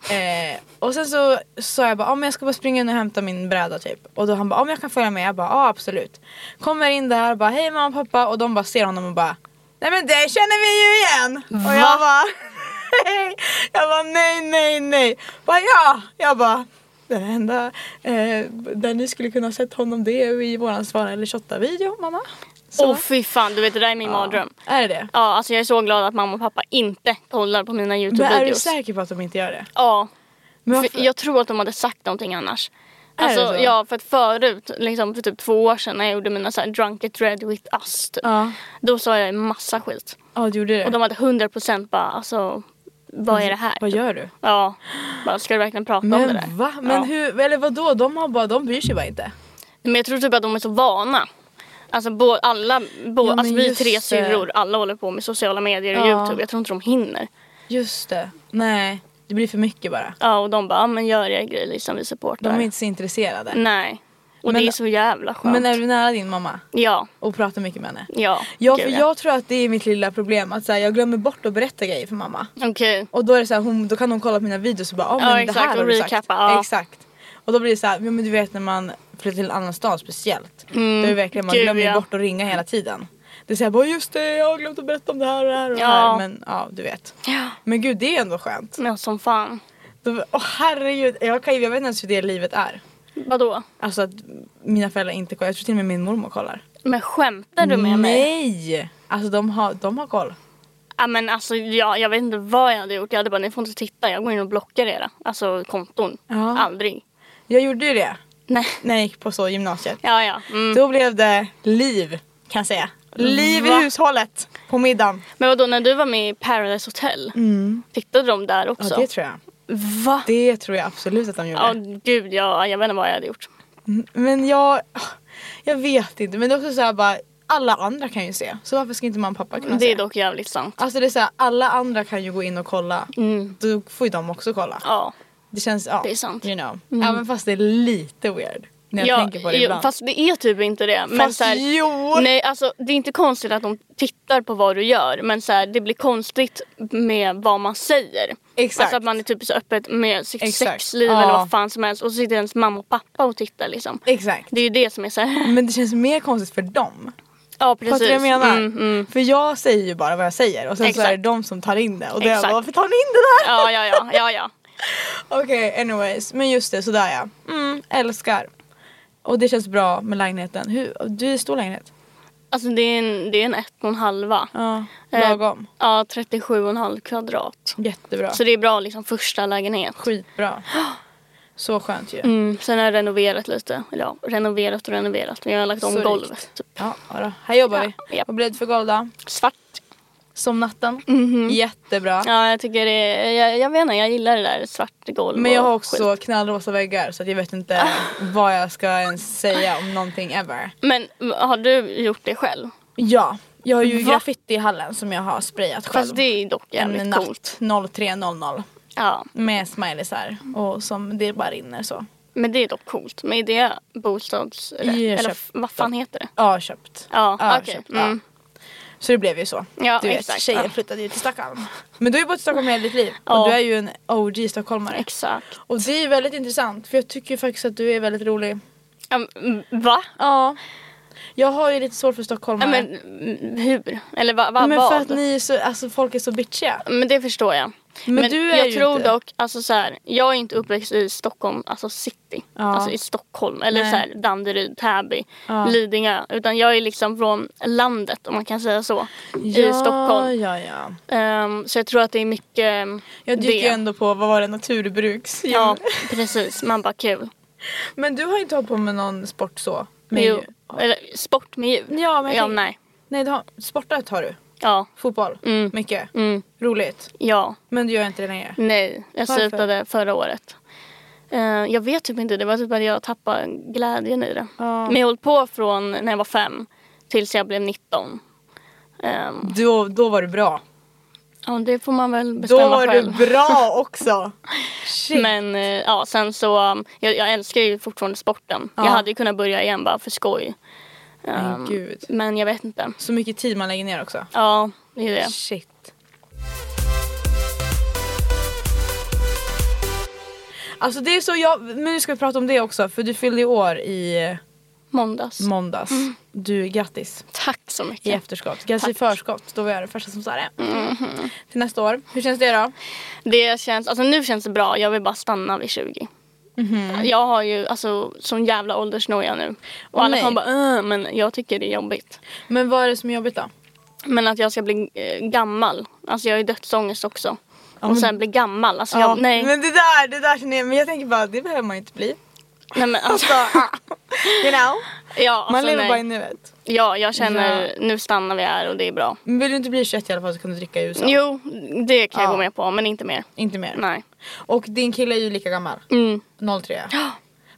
Speaker 1: Eh, och sen så sa jag bara, ah, men jag ska bara springa in och hämta min bräda typ. Och då han bara, ah, men jag kan följa med. Jag bara, ja ah, absolut. Kommer in där, bara hej mamma och pappa och de bara ser honom och bara, nej men det känner vi ju igen. Och jag bara, nej. Jag bara [laughs] nej, nej, nej. Bara ja. Jag bara, den enda eh, där ni skulle kunna ha sett honom det är i våran svara eller shotta video mamma.
Speaker 2: Åh fy fan, du vet det där är min mardröm.
Speaker 1: Är det det?
Speaker 2: Ja, alltså jag är så glad att mamma och pappa inte kollar på mina
Speaker 1: Men är du
Speaker 2: Youtube-videos.
Speaker 1: säker på att de inte gör det?
Speaker 2: Ja,
Speaker 1: Men
Speaker 2: för
Speaker 1: varför?
Speaker 2: jag tror att de hade sagt någonting annars.
Speaker 1: Är det
Speaker 2: Alltså,
Speaker 1: så?
Speaker 2: ja, för att förut, liksom för typ två år sedan när jag gjorde mina så här drunk it red with us, typ,
Speaker 1: Ja,
Speaker 2: då sa jag en massa skit.
Speaker 1: ja du gjorde det.
Speaker 2: Och de hade 100% bara, alltså, vad är det här? Typ.
Speaker 1: Vad gör du?
Speaker 2: Ja, bara, ska du verkligen prata om det där?
Speaker 1: Men va? Men
Speaker 2: ja.
Speaker 1: hur, eller vadå? De har bara, de bryr sig bara inte.
Speaker 2: Men jag tror typ att de är så vana. Alltså, bo, alla, bo,
Speaker 1: men
Speaker 2: alltså vi är
Speaker 1: just
Speaker 2: tre
Speaker 1: det.
Speaker 2: syrror, alla håller på med sociala medier och
Speaker 1: Ja.
Speaker 2: Youtube. Jag tror inte de hinner.
Speaker 1: Just det. Nej, det blir för mycket bara.
Speaker 2: Ja, och de bara, ja men gör er grej liksom, vi supportar.
Speaker 1: De är inte så intresserade.
Speaker 2: Nej. Och
Speaker 1: Men-
Speaker 2: det är så jävla Mm, skönt.
Speaker 1: Men är du nära din mamma
Speaker 2: Ja,
Speaker 1: och pratar mycket med henne?
Speaker 2: ja.
Speaker 1: Ja,
Speaker 2: gud,
Speaker 1: för jag tror att det är mitt lilla problem att så här, jag glömmer bort att berätta grejer för mamma.
Speaker 2: Okej.
Speaker 1: Och då är det så här, hon, då kan hon kolla på mina videos och bara, ah, men
Speaker 2: Ja,
Speaker 1: det
Speaker 2: exakt,
Speaker 1: här har
Speaker 2: och
Speaker 1: du sagt.
Speaker 2: recappa, ja.
Speaker 1: Exakt. Och då blir det så här, ja, men du vet när man flyttar till en annan stad speciellt. Då är det verkligen, man
Speaker 2: Mm. Gud,
Speaker 1: glömmer
Speaker 2: ja.
Speaker 1: bort att ringa hela tiden. Det är såhär bara just det, jag har glömt att berätta om det här och det här och det
Speaker 2: Ja.
Speaker 1: här. Men ja, du vet.
Speaker 2: Ja.
Speaker 1: Men gud det är ändå skönt.
Speaker 2: Men som fan.
Speaker 1: Då, åh herregud, jag, kan, ju- jag vet inte ens hur det livet är.
Speaker 2: Vadå?
Speaker 1: Alltså att mina föräldrar inte kollar, jag tror till och med min mormor kollar.
Speaker 2: Men skämtar du med mig?
Speaker 1: Nej! Alltså de har, de har koll.
Speaker 2: Ja, men alltså, ja, jag vet inte vad jag hade gjort. Jag hade bara, ni får inte titta. Jag går in och blockar era alltså, konton.
Speaker 1: Ja.
Speaker 2: Aldrig.
Speaker 1: Jag gjorde ju det
Speaker 2: Nej. [laughs]
Speaker 1: när jag gick på så gymnasiet.
Speaker 2: Ja, ja. Mm.
Speaker 1: Då blev det liv kan jag säga. Liv i hushållet på middagen.
Speaker 2: Men vadå, när du var med i Paradise Hotel, tittade de där
Speaker 1: Mm. Ja
Speaker 2: också?
Speaker 1: det tror jag.
Speaker 2: Va?
Speaker 1: Det tror jag absolut att de gjorde.
Speaker 2: Ja, gud, ja, jag vet inte vad jag hade gjort.
Speaker 1: Men jag, jag vet inte. Men det är också såhär bara, alla andra kan ju se. Så varför ska inte mamma och pappa kunna
Speaker 2: Det
Speaker 1: se?
Speaker 2: är dock jävligt sant.
Speaker 1: Alltså det är såhär, alla andra kan ju gå in och kolla. Då får ju de också kolla.
Speaker 2: Mm. Ja.
Speaker 1: Det känns, ja.
Speaker 2: Det är sant. Mm.
Speaker 1: You know. Även fast det är lite weird. När jag
Speaker 2: ja,
Speaker 1: tänker på det
Speaker 2: jo,
Speaker 1: ibland.
Speaker 2: Fast det är typ inte det. men
Speaker 1: Fast
Speaker 2: så här,
Speaker 1: jo!
Speaker 2: Nej, alltså det är inte konstigt att de tittar på vad du gör. Men så här, det blir konstigt med vad man säger.
Speaker 1: Exakt.
Speaker 2: Alltså att man är typ så öppet med sitt
Speaker 1: Exakt.
Speaker 2: sexliv
Speaker 1: Ja.
Speaker 2: eller vad fan som helst. Och så sitter ens mamma och pappa och tittar liksom.
Speaker 1: Exakt.
Speaker 2: Det är ju det som är så här. [laughs]
Speaker 1: Men det känns mer konstigt för dem.
Speaker 2: Ja, precis.
Speaker 1: Fattar du vad jag menar?
Speaker 2: Mm, mm.
Speaker 1: För jag säger ju bara vad jag säger och sen så är det
Speaker 2: Exakt.
Speaker 1: de som tar in det och då är jag bara
Speaker 2: Exakt.
Speaker 1: varför tar ni in det där?
Speaker 2: Ja, ja, ja, ja, ja.
Speaker 1: [laughs] Okej anyways, men just det sådär ja. Mm, älskar. Och det känns bra med lägenheten. Hur, du är i stor lägenhet?
Speaker 2: Alltså det är en, det är en ett och en halva.
Speaker 1: Ja,
Speaker 2: Eh,
Speaker 1: lagom.
Speaker 2: Ja, 37,5 kvadrat.
Speaker 1: Jättebra.
Speaker 2: Så det är bra liksom första lägenhet.
Speaker 1: Skitbra. [gasps] Så skönt ju.
Speaker 2: Mm, sen har jag renoverat lite. Eller ja, renoverat och renoverat. Men jag har lagt om
Speaker 1: Så
Speaker 2: golvet.
Speaker 1: rikt.
Speaker 2: Typ.
Speaker 1: Ja, ja då. här jobbar vi.
Speaker 2: Ja, japp.
Speaker 1: Vad blev det för golv då?
Speaker 2: Svart.
Speaker 1: Som natten. Jättebra.
Speaker 2: Ja, jag tycker det jag, jag vet inte, jag gillar det där svart golv
Speaker 1: Men jag har
Speaker 2: och
Speaker 1: också knallrosa väggar så att jag vet inte vad jag ska ens säga om någonting ever.
Speaker 2: Men har du gjort det själv?
Speaker 1: Ja, jag har ju
Speaker 2: Va?
Speaker 1: graffiti i hallen som jag har sprayat själv.
Speaker 2: Fast det är dock jävligt
Speaker 1: en
Speaker 2: coolt.
Speaker 1: natt 03.00
Speaker 2: Ja,
Speaker 1: med smileysar och som det bara rinner så.
Speaker 2: men det är dock coolt. Men är det bostadsrätt?
Speaker 1: Jag
Speaker 2: Eller
Speaker 1: köpte-
Speaker 2: f- vad fan heter det?
Speaker 1: Ja, köpt.
Speaker 2: Ja, okej.
Speaker 1: köpt,
Speaker 2: Mm.
Speaker 1: Så det blev ju så.
Speaker 2: Ja,
Speaker 1: du vet,
Speaker 2: exakt.
Speaker 1: tjejen
Speaker 2: Ja.
Speaker 1: flyttade ju till Stockholm. Men du har ju bott i Stockholm hela ditt liv
Speaker 2: Ja.
Speaker 1: och du är ju en OG stockholmare.
Speaker 2: Exakt.
Speaker 1: Och det är ju väldigt intressant för jag tycker ju faktiskt att du är väldigt rolig.
Speaker 2: Ja, men, va?
Speaker 1: Ja. Jag har ju lite svårt för
Speaker 2: Ja,
Speaker 1: stockholmare.
Speaker 2: men hur? Eller va, va,
Speaker 1: men för
Speaker 2: vad?
Speaker 1: att ni är så, alltså folk är så bitchiga.
Speaker 2: Men det förstår jag.
Speaker 1: Men,
Speaker 2: Men
Speaker 1: du är
Speaker 2: jag
Speaker 1: ju
Speaker 2: tror
Speaker 1: inte.
Speaker 2: dock, alltså så här, jag är inte uppväxt i Stockholm, alltså city.
Speaker 1: Ja.
Speaker 2: Alltså i Stockholm eller
Speaker 1: Nej.
Speaker 2: så här, Danderyd, Täby,
Speaker 1: Ja.
Speaker 2: Lidingö. Utan jag är liksom från landet om man kan säga så. I
Speaker 1: ja,
Speaker 2: Stockholm.
Speaker 1: Ja, ja.
Speaker 2: Ehm, så jag tror att det är mycket um,
Speaker 1: Jag dyker
Speaker 2: det.
Speaker 1: ju ändå på, vad var det, naturbruks?
Speaker 2: Ja, precis. Man bara kul.
Speaker 1: Men du har inte hållit på med någon sport så? Med
Speaker 2: Jo. Eller sport med djur.
Speaker 1: Ja, men jag
Speaker 2: ja,
Speaker 1: tänk-
Speaker 2: nej.
Speaker 1: Nej, du har, sportat har du.
Speaker 2: Ja.
Speaker 1: Fotboll.
Speaker 2: Mm.
Speaker 1: Mycket.
Speaker 2: Mm.
Speaker 1: Roligt.
Speaker 2: Ja.
Speaker 1: Men du gör inte det längre.
Speaker 2: Nej, jag
Speaker 1: Varför?
Speaker 2: slutade förra året. Eh, jag vet typ inte, det var typ att jag tappade glädjen i det.
Speaker 1: Ja.
Speaker 2: Men jag höll på från när jag var fem tills jag blev 19. Eh,
Speaker 1: Då, då var du bra.
Speaker 2: ja, det får man väl
Speaker 1: Då
Speaker 2: bestämma
Speaker 1: var
Speaker 2: själv.
Speaker 1: du bra
Speaker 2: [laughs]
Speaker 1: också. Shit.
Speaker 2: Men eh, ja, sen så, um, jag, jag älskar ju fortfarande sporten.
Speaker 1: Ja.
Speaker 2: Jag hade ju kunnat börja igen bara för skoj.
Speaker 1: Men
Speaker 2: Eh,
Speaker 1: gud.
Speaker 2: men jag vet inte.
Speaker 1: Så mycket tid man lägger ner också.
Speaker 2: Ja, det är det.
Speaker 1: Shit. Alltså det är så jag, men nu ska vi prata om det också för du fyllde ju år i
Speaker 2: Måndags.
Speaker 1: måndags.
Speaker 2: Mm.
Speaker 1: Du, grattis
Speaker 2: Tack så mycket.
Speaker 1: i efterskott. Grattis i förskott, då var jag den första som sa det.
Speaker 2: Mm-hmm.
Speaker 1: Till nästa år, hur känns det då?
Speaker 2: Det känns, alltså nu känns det bra. Jag vill bara stanna vid 20. Jag har ju alltså sån jävla åldersnoja nu. Och alla
Speaker 1: Nej.
Speaker 2: kommer bara "Äh", men jag tycker det är jobbigt.
Speaker 1: Men vad är det som är jobbigt då?
Speaker 2: Men att jag ska bli eh, gammal. Alltså jag har ju dödsångest också. Och sen bli gammal. Alltså
Speaker 1: Ja,
Speaker 2: jag, nej.
Speaker 1: Men det där, det där känner jag, men jag tänker bara det behöver man ju inte bli.
Speaker 2: nej men
Speaker 1: [laughs]
Speaker 2: alltså,
Speaker 1: Så, you know?
Speaker 2: [laughs] ja, alltså,
Speaker 1: Man lever
Speaker 2: nej.
Speaker 1: bara i nuet.
Speaker 2: Ja jag känner nu stannar vi här och det är bra.
Speaker 1: Men vill du inte bli 21 i alla fall så kan du dricka i USA?
Speaker 2: Jo det kan jag
Speaker 1: Ja.
Speaker 2: gå med på men inte mer.
Speaker 1: Inte mer.
Speaker 2: Nej.
Speaker 1: Och din kille är ju lika gammal.
Speaker 2: Mm.
Speaker 1: 03.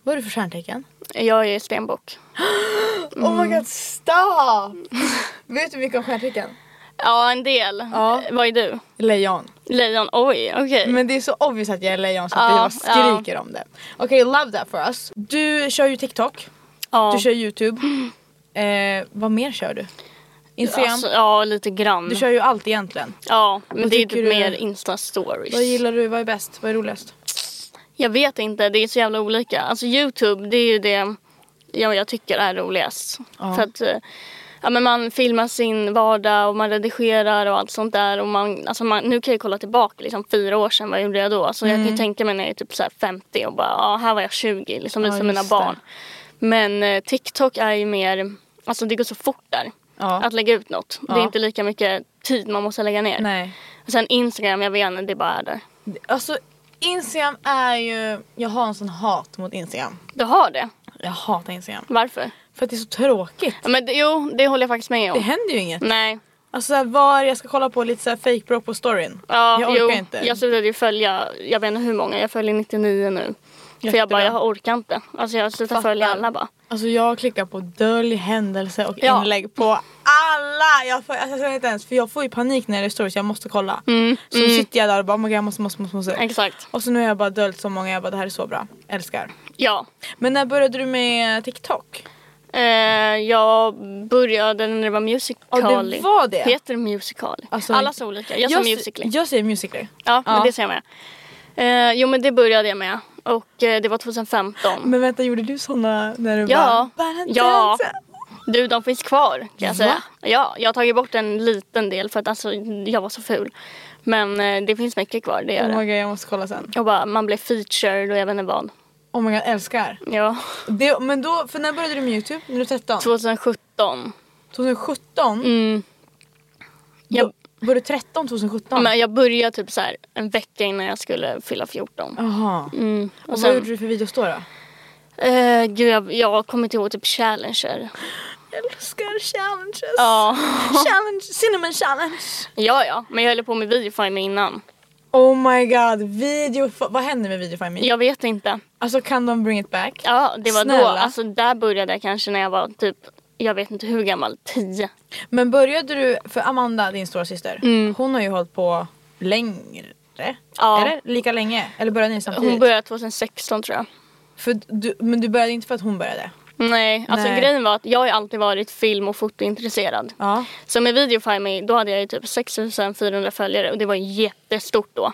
Speaker 1: Vad är du för stjärntecken?
Speaker 2: Jag är stenbock.
Speaker 1: Oh my god, stop! [laughs] Vet du mycket om stjärntecken?
Speaker 2: Ja en del.
Speaker 1: Ja.
Speaker 2: Vad är du?
Speaker 1: Lejon.
Speaker 2: Lejon? Oj okej.
Speaker 1: Men det är så obvious att jag är lejon så att
Speaker 2: Ja,
Speaker 1: jag bara skriker om det. Okej, love that for us. Du kör ju TikTok,
Speaker 2: ja.
Speaker 1: du kör YouTube.
Speaker 2: [gasps]
Speaker 1: Eh, vad mer kör du? Instagram?
Speaker 2: Alltså, ja, lite grann.
Speaker 1: Du kör ju allt egentligen.
Speaker 2: Ja, men
Speaker 1: Vad
Speaker 2: det är
Speaker 1: tycker
Speaker 2: typ
Speaker 1: du?
Speaker 2: mer Insta-stories.
Speaker 1: Vad gillar du? Vad är bäst? Vad är roligast?
Speaker 2: Jag vet inte, det är så jävla olika. Alltså Youtube, det är ju det jag, jag tycker är roligast.
Speaker 1: Ja.
Speaker 2: För att eh, ja, men man filmar sin vardag och man redigerar och allt sånt där. Och man, alltså man, nu kan jag kolla tillbaka liksom, fyra år sedan, vad gjorde jag då? Alltså,
Speaker 1: Mm.
Speaker 2: Jag kan ju tänka mig när jag är typ så här 50 och bara, ja här var jag 20, liksom
Speaker 1: Ja,
Speaker 2: visa mina
Speaker 1: just det.
Speaker 2: barn. Men eh, TikTok är ju mer, alltså det går så fort där.
Speaker 1: Ja.
Speaker 2: Att lägga ut något. Det
Speaker 1: Ja.
Speaker 2: är inte lika mycket tid man måste lägga ner.
Speaker 1: Nej.
Speaker 2: Sen Instagram, jag vet inte, det bara är där.
Speaker 1: Alltså Instagram är ju, jag har en sån hat mot Instagram.
Speaker 2: Du har det?
Speaker 1: Jag hatar Instagram.
Speaker 2: Varför?
Speaker 1: För att det är så tråkigt.
Speaker 2: Ja, men det, jo, det håller jag faktiskt med
Speaker 1: Det
Speaker 2: om.
Speaker 1: händer ju inget.
Speaker 2: Nej.
Speaker 1: Alltså såhär, vad är det jag ska kolla på? Lite såhär fake bro på storyn.
Speaker 2: Ja,
Speaker 1: jag orkar
Speaker 2: jo,
Speaker 1: inte.
Speaker 2: Jag slutade ju följa, jag vet inte hur många, jag följer 99 nu. För jag bara,
Speaker 1: Jättebra.
Speaker 2: jag orkar inte. Alltså jag slutar
Speaker 1: Fattar.
Speaker 2: följa alla bara.
Speaker 1: Alltså jag klickar på dölj händelse och
Speaker 2: Ja.
Speaker 1: inlägg på alla! Jag får, alltså, jag ser inte ens, för jag får ju panik när det är stories, jag måste kolla. Så sitter jag där och bara, oh my God, jag måste, måste, måste, måste.
Speaker 2: Mm, Exakt.
Speaker 1: Och så nu har jag bara döljt så många, jag bara det här är så bra. Älskar.
Speaker 2: Ja.
Speaker 1: Men när började du med TikTok?
Speaker 2: Eh, jag började när det var Musical.ly.
Speaker 1: Ja, det var det.
Speaker 2: Heter det Musical.ly?
Speaker 1: Alltså,
Speaker 2: alla så olika. Jag, sa
Speaker 1: se-
Speaker 2: Musical.ly.
Speaker 1: Jag säger musically.
Speaker 2: Ja,
Speaker 1: Ja.
Speaker 2: men det ser jag med. Eh, jo, men det började jag med. Och eh, det var 2015.
Speaker 1: Men vänta, gjorde du såna när du
Speaker 2: Ja.
Speaker 1: bara... Bara
Speaker 2: Ja.
Speaker 1: dansa?
Speaker 2: Du, de finns kvar kan jag
Speaker 1: Va?
Speaker 2: säga. Ja, jag har tagit bort en liten del för att alltså, jag var så ful. Men eh, det finns mycket kvar, det gör
Speaker 1: Oh my
Speaker 2: det.
Speaker 1: god jag måste kolla sen.
Speaker 2: Och bara, man blir featured och jag vet inte vad.
Speaker 1: Oh my god älskar.
Speaker 2: Ja,
Speaker 1: Det, men då, för när började du med youtube? När du var 13?
Speaker 2: 2017.
Speaker 1: 2017?
Speaker 2: Mm. Jag,
Speaker 1: Då, var du 13 2017?
Speaker 2: men jag började typ så här en vecka innan jag skulle fylla 14.
Speaker 1: Jaha.
Speaker 2: Mm.
Speaker 1: Och
Speaker 2: Och
Speaker 1: vad
Speaker 2: sen,
Speaker 1: gjorde du för videos då? då?
Speaker 2: eh, gud, jag, jag kommer inte ihåg typ challenger.
Speaker 1: Jag älskar challenges.
Speaker 2: Ja,
Speaker 1: Challenge, cinnamon challenge.
Speaker 2: ja, ja. men jag höll på med videofinder innan.
Speaker 1: Oh my god, video... Vad händer med video find me?
Speaker 2: Jag vet inte.
Speaker 1: Alltså kan de bring it back?
Speaker 2: Ja, det var då.
Speaker 1: Snälla.
Speaker 2: Alltså där började jag kanske när jag var typ, jag vet inte hur gammal, 10.
Speaker 1: Men började du, för Amanda din stora syster, hon har ju hållit på längre.
Speaker 2: Mm. Ja.
Speaker 1: Eller? Lika länge? Eller började ni samtidigt?
Speaker 2: Hon började 2016 tror jag.
Speaker 1: för du, men du började inte för att hon började?
Speaker 2: Nej, alltså
Speaker 1: Nej.
Speaker 2: grejen var att jag har ju alltid varit film och fotointresserad.
Speaker 1: Ja.
Speaker 2: Så med Videofind Me, då hade jag ju typ 6400 följare och det var jättestort då.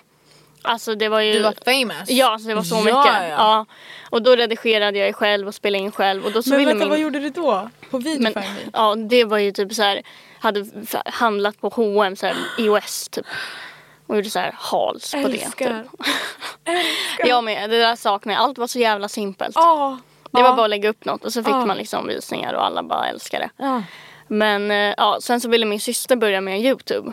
Speaker 2: Alltså det var ju...
Speaker 1: Du var famous?
Speaker 2: Ja, alltså det var så
Speaker 1: Ja,
Speaker 2: mycket.
Speaker 1: ja.
Speaker 2: Ja. Och då redigerade jag ju själv och spelade in själv. Och då så
Speaker 1: Men
Speaker 2: ville
Speaker 1: vänta,
Speaker 2: min...
Speaker 1: vad gjorde du då? På video
Speaker 2: Men,
Speaker 1: find me?
Speaker 2: ja, det var ju typ så här, hade f- handlat på H&M så här, i OS typ. Och gjorde så här hals på det.
Speaker 4: Älskar.
Speaker 2: Typ. Jag med, det där saknar jag. Allt var så jävla simpelt.
Speaker 1: Ah,
Speaker 4: Ja.
Speaker 2: Det
Speaker 4: Ja.
Speaker 2: var bara att lägga upp något och så fick
Speaker 4: Ja.
Speaker 2: man liksom visningar och alla bara älskade det.
Speaker 4: Ja.
Speaker 2: Men eh, ja, sen så ville min syster börja med Youtube.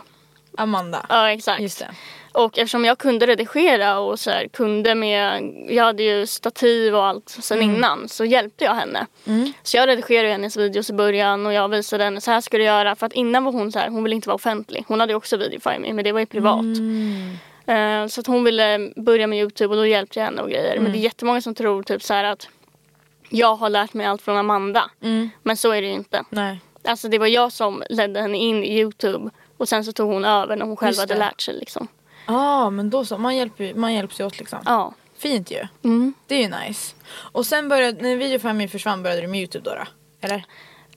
Speaker 1: Amanda.
Speaker 2: Ja exakt.
Speaker 1: Just det.
Speaker 2: Och eftersom jag kunde redigera och så här, kunde med, jag hade ju stativ och allt sen
Speaker 1: Mm.
Speaker 2: innan så hjälpte jag henne. Så jag redigerade hennes videos i början och jag visade henne så här ska du göra för att innan var hon så här, hon ville inte vara offentlig. Hon hade ju också videofilming men det var ju privat.
Speaker 1: Mm.
Speaker 2: Eh, så att hon ville börja med Youtube och då hjälpte jag henne och grejer.
Speaker 1: Mm.
Speaker 2: Men det är jättemånga som tror typ så här att jag har lärt mig allt från Amanda. Men så är det ju inte.
Speaker 1: Mm, Nej.
Speaker 2: Alltså det var jag som ledde henne in i Youtube och sen så tog hon över när hon själv
Speaker 1: Just
Speaker 2: hade
Speaker 1: det.
Speaker 2: lärt sig liksom.
Speaker 1: Ja men då så, man, hjälper, ju- man hjälps ju åt liksom.
Speaker 2: Ja.
Speaker 1: Fint ju.
Speaker 2: Mm.
Speaker 1: Det är ju nice. Och sen började, när videofamiljen försvann började du med Youtube då? då? Eller?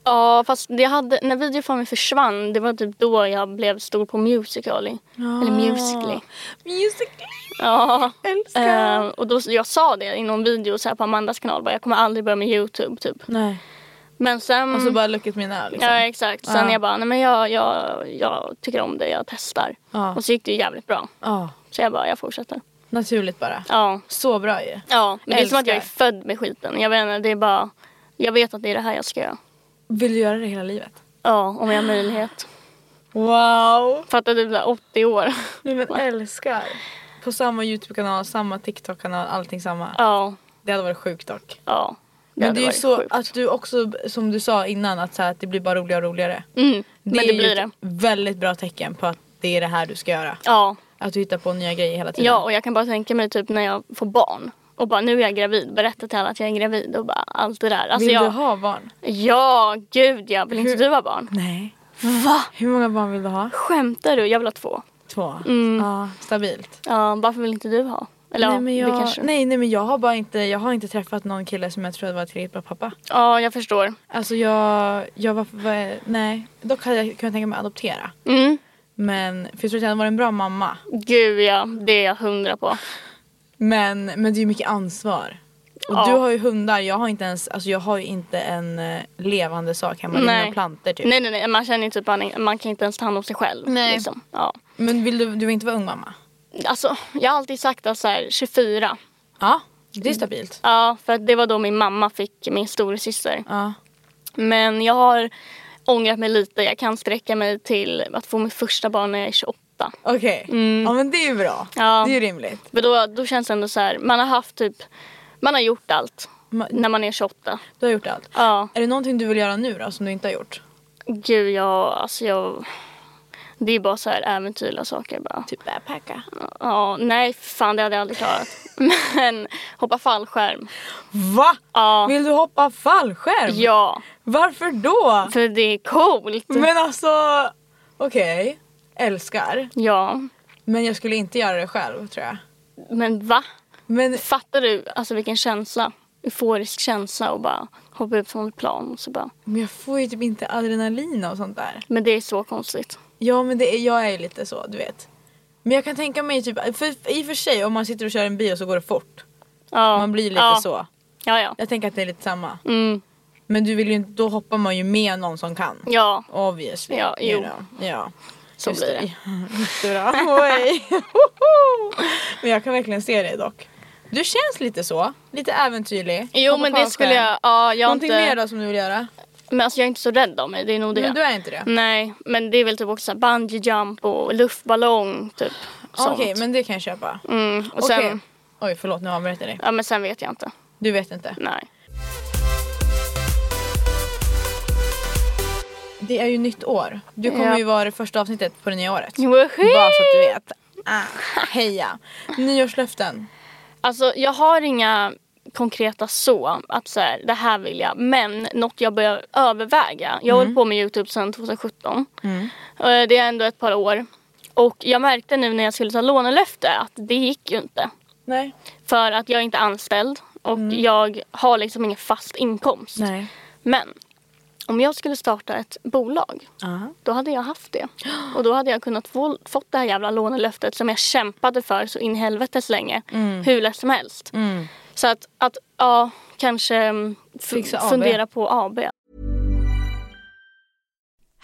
Speaker 2: Ja fast jag hade, när video för mig försvann det var typ då jag blev stor på Musical.ly. Eller Musical.ly.
Speaker 1: Musical!
Speaker 2: Ja.
Speaker 1: Älskar!
Speaker 2: Eh, och då, jag sa det i någon video så här på Amandas kanal bara jag kommer aldrig börja med Youtube typ.
Speaker 1: Nej.
Speaker 2: Men sen.
Speaker 1: Och så Alltså, bara look at me now liksom.
Speaker 2: Mm. Ja exakt. Sen
Speaker 1: Ja.
Speaker 2: jag bara nej men jag, jag, jag tycker om det jag testar.
Speaker 1: Ja.
Speaker 2: Och så gick det ju jävligt bra.
Speaker 1: Ja,
Speaker 2: Så jag bara jag fortsätter.
Speaker 1: naturligt bara.
Speaker 2: Ja.
Speaker 1: Så bra ju.
Speaker 2: Ja, men det är som att jag är
Speaker 1: Älskar.
Speaker 2: född med skiten. Jag vet inte, det är bara... Jag vet att det är det här jag ska göra.
Speaker 1: Vill du göra det hela livet?
Speaker 2: Ja, om jag har möjlighet.
Speaker 1: Wow!
Speaker 2: Fattar du, blir 80 år. [laughs]
Speaker 1: Nej men älskar. På samma Youtube-kanal, samma TikTok-kanal, allting samma.
Speaker 2: Ja,
Speaker 1: Det hade varit sjukt dock.
Speaker 2: ja.
Speaker 1: Men det är
Speaker 2: hade
Speaker 1: ju
Speaker 2: varit
Speaker 1: så
Speaker 2: sjukt.
Speaker 1: att du också, som du sa innan, att, så här, att det blir bara roligare och roligare.
Speaker 2: Mm, men
Speaker 1: är
Speaker 2: det
Speaker 1: ju typ
Speaker 2: blir
Speaker 1: ett
Speaker 2: det.
Speaker 1: väldigt bra tecken på att det är det här du ska göra.
Speaker 2: Ja.
Speaker 1: Att du hittar på nya grejer hela tiden.
Speaker 2: ja, och jag kan bara tänka mig typ när jag får barn. Och bara nu är jag gravid, berätta till alla att jag är gravid och bara allt det där. Alltså,
Speaker 1: vill
Speaker 2: jag...
Speaker 1: du ha barn?
Speaker 2: Ja, gud ja. Vill inte du ha barn?
Speaker 1: Nej.
Speaker 2: Va?
Speaker 1: Hur många barn vill du ha?
Speaker 2: Skämtar du? Jag vill ha två.
Speaker 1: Två.
Speaker 2: Mm.
Speaker 1: Ja, stabilt.
Speaker 2: Ja, varför vill inte du ha? Eller
Speaker 1: nej, men
Speaker 2: ja,
Speaker 1: jag,
Speaker 2: det kanske...
Speaker 1: nej, nej men jag har bara inte, jag har inte träffat någon kille som jag trodde var tillräckligt bra pappa.
Speaker 2: Ja, jag förstår.
Speaker 1: Alltså jag, jag var, var, nej. Dock hade jag kunnat tänka mig att adoptera.
Speaker 2: Mm.
Speaker 1: Men, för jag tror att jag hade varit en bra mamma.
Speaker 2: Gud ja, det är jag hundra på.
Speaker 1: Men, men det är ju mycket ansvar. Och
Speaker 2: Ja.
Speaker 1: du har ju hundar, jag har inte ens, alltså jag har ju inte en eh, levande sak hemma. Det är
Speaker 2: Nej.
Speaker 1: mina plantor typ.
Speaker 2: Nej nej nej, man känner ju typ att man kan inte ens ta hand om sig själv.
Speaker 1: Nej.
Speaker 2: Liksom. Ja.
Speaker 1: Men vill du, du vill inte vara ung mamma?
Speaker 2: Alltså, jag har alltid sagt att så här, 24.
Speaker 1: Ja, det är stabilt.
Speaker 2: Ja, för att det var då min mamma fick min storasyster.
Speaker 1: Ja.
Speaker 2: Men jag har ångrat mig lite. Jag kan sträcka mig till att få mitt första barn när jag är 28.
Speaker 1: Okej, ja men det är ju bra.
Speaker 2: Mm. Ja.
Speaker 1: Det är ju rimligt.
Speaker 2: För då, då känns det ändå så här, man har haft typ, man har gjort allt
Speaker 1: Ma-
Speaker 2: när man är 28.
Speaker 1: Du har gjort allt.
Speaker 2: Ja,
Speaker 1: Är det någonting du vill göra nu då som du inte har gjort?
Speaker 2: gud jag, alltså jag, det är bara så här äventyrliga saker bara.
Speaker 1: Typ backpacka.
Speaker 2: Ja, nej fan det hade jag aldrig klarat. [laughs] Men hoppa fallskärm.
Speaker 1: Va?
Speaker 2: Ja.
Speaker 1: Vill du hoppa fallskärm?
Speaker 2: Ja,
Speaker 1: Varför då?
Speaker 2: för det är coolt.
Speaker 1: Men alltså, okej. Älskar.
Speaker 2: Ja,
Speaker 1: Men jag skulle inte göra det själv tror jag.
Speaker 2: men va?
Speaker 1: Men
Speaker 2: Fattar du alltså vilken känsla? Euforisk känsla och bara hoppa ut från ett plan och så bara.
Speaker 1: Men jag får ju typ inte adrenalin och sånt där.
Speaker 2: Men det är så konstigt.
Speaker 1: Ja men det är, jag är ju lite så du vet. Men jag kan tänka mig typ, för, i och för sig om man sitter och kör en bil så går det fort.
Speaker 2: Ja.
Speaker 1: Man blir lite
Speaker 2: ja.
Speaker 1: så.
Speaker 2: Ja, ja.
Speaker 1: Jag tänker att det är lite samma.
Speaker 2: Mm.
Speaker 1: Men du vill ju inte, då hoppar man ju med någon som kan.
Speaker 2: Ja,
Speaker 1: Obviously.
Speaker 2: Ja,
Speaker 1: you
Speaker 2: jo.
Speaker 1: know. Ja.
Speaker 2: så
Speaker 1: Just
Speaker 2: blir det.
Speaker 1: [laughs] Jättebra. Oj. Hoho. men jag kan verkligen se dig dock. Du känns lite så, lite äventyrlig.
Speaker 2: Jo
Speaker 1: Hoppa
Speaker 2: men det
Speaker 1: fallskärm.
Speaker 2: skulle jag, ja jag har
Speaker 1: Någonting mer
Speaker 2: inte,
Speaker 1: då som du vill göra?
Speaker 2: men alltså jag är inte så rädd om mig, det är nog det.
Speaker 1: Men du är inte det?
Speaker 2: Nej, men det är väl typ också så här bungee jump och luftballong typ.
Speaker 1: Ah, Okej
Speaker 2: sånt.
Speaker 1: men det kan jag köpa.
Speaker 2: Mm. Och
Speaker 1: Okej.
Speaker 2: sen,
Speaker 1: Oj förlåt nu avbröt jag dig.
Speaker 2: ja men sen vet jag inte.
Speaker 1: Du vet inte.
Speaker 2: Nej.
Speaker 1: Det är ju nytt år. Du kommer
Speaker 2: Ja.
Speaker 1: ju vara det första avsnittet på det nya året.
Speaker 2: Woho!
Speaker 1: Bara så att du vet. Ah, heja. Nyårslöften.
Speaker 2: Alltså jag har inga konkreta så, att så här, det här vill jag. Men något jag börjar överväga. Jag har hållit på med Youtube sedan 2017. Eh, Det är ändå ett par år. Och jag märkte nu när jag skulle ta lånelöfte att det gick ju inte.
Speaker 1: Nej.
Speaker 2: För att jag är inte anställd och jag har liksom ingen fast inkomst.
Speaker 1: Nej.
Speaker 2: Men om jag skulle starta ett bolag då hade jag haft det. Och då hade jag kunnat få, fått det här jävla lånelöftet som jag kämpade för så in i helvetes länge. Hur lätt som helst. Så att, att ja, kanske mm, f-
Speaker 1: Fixa AB.
Speaker 2: fundera på AB.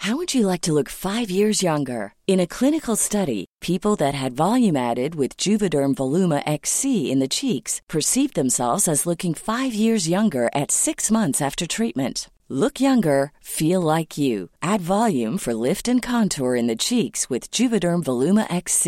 Speaker 4: How would you like to look five years younger? In a clinical study, people that had volume added with Juvederm Voluma XC in the cheeks perceived themselves as looking five years younger at six months after treatment. Look younger, feel like you. Add volume for lift and contour in the cheeks with Juvederm Voluma XC.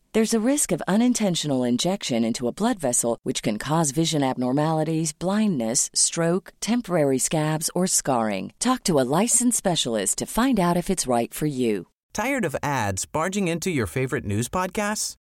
Speaker 4: There's a risk of unintentional injection into a blood vessel, which can cause vision abnormalities, blindness, stroke, temporary scabs, or scarring. Talk to a licensed specialist to find out if it's right for you.
Speaker 5: Tired of ads barging into your favorite news podcasts?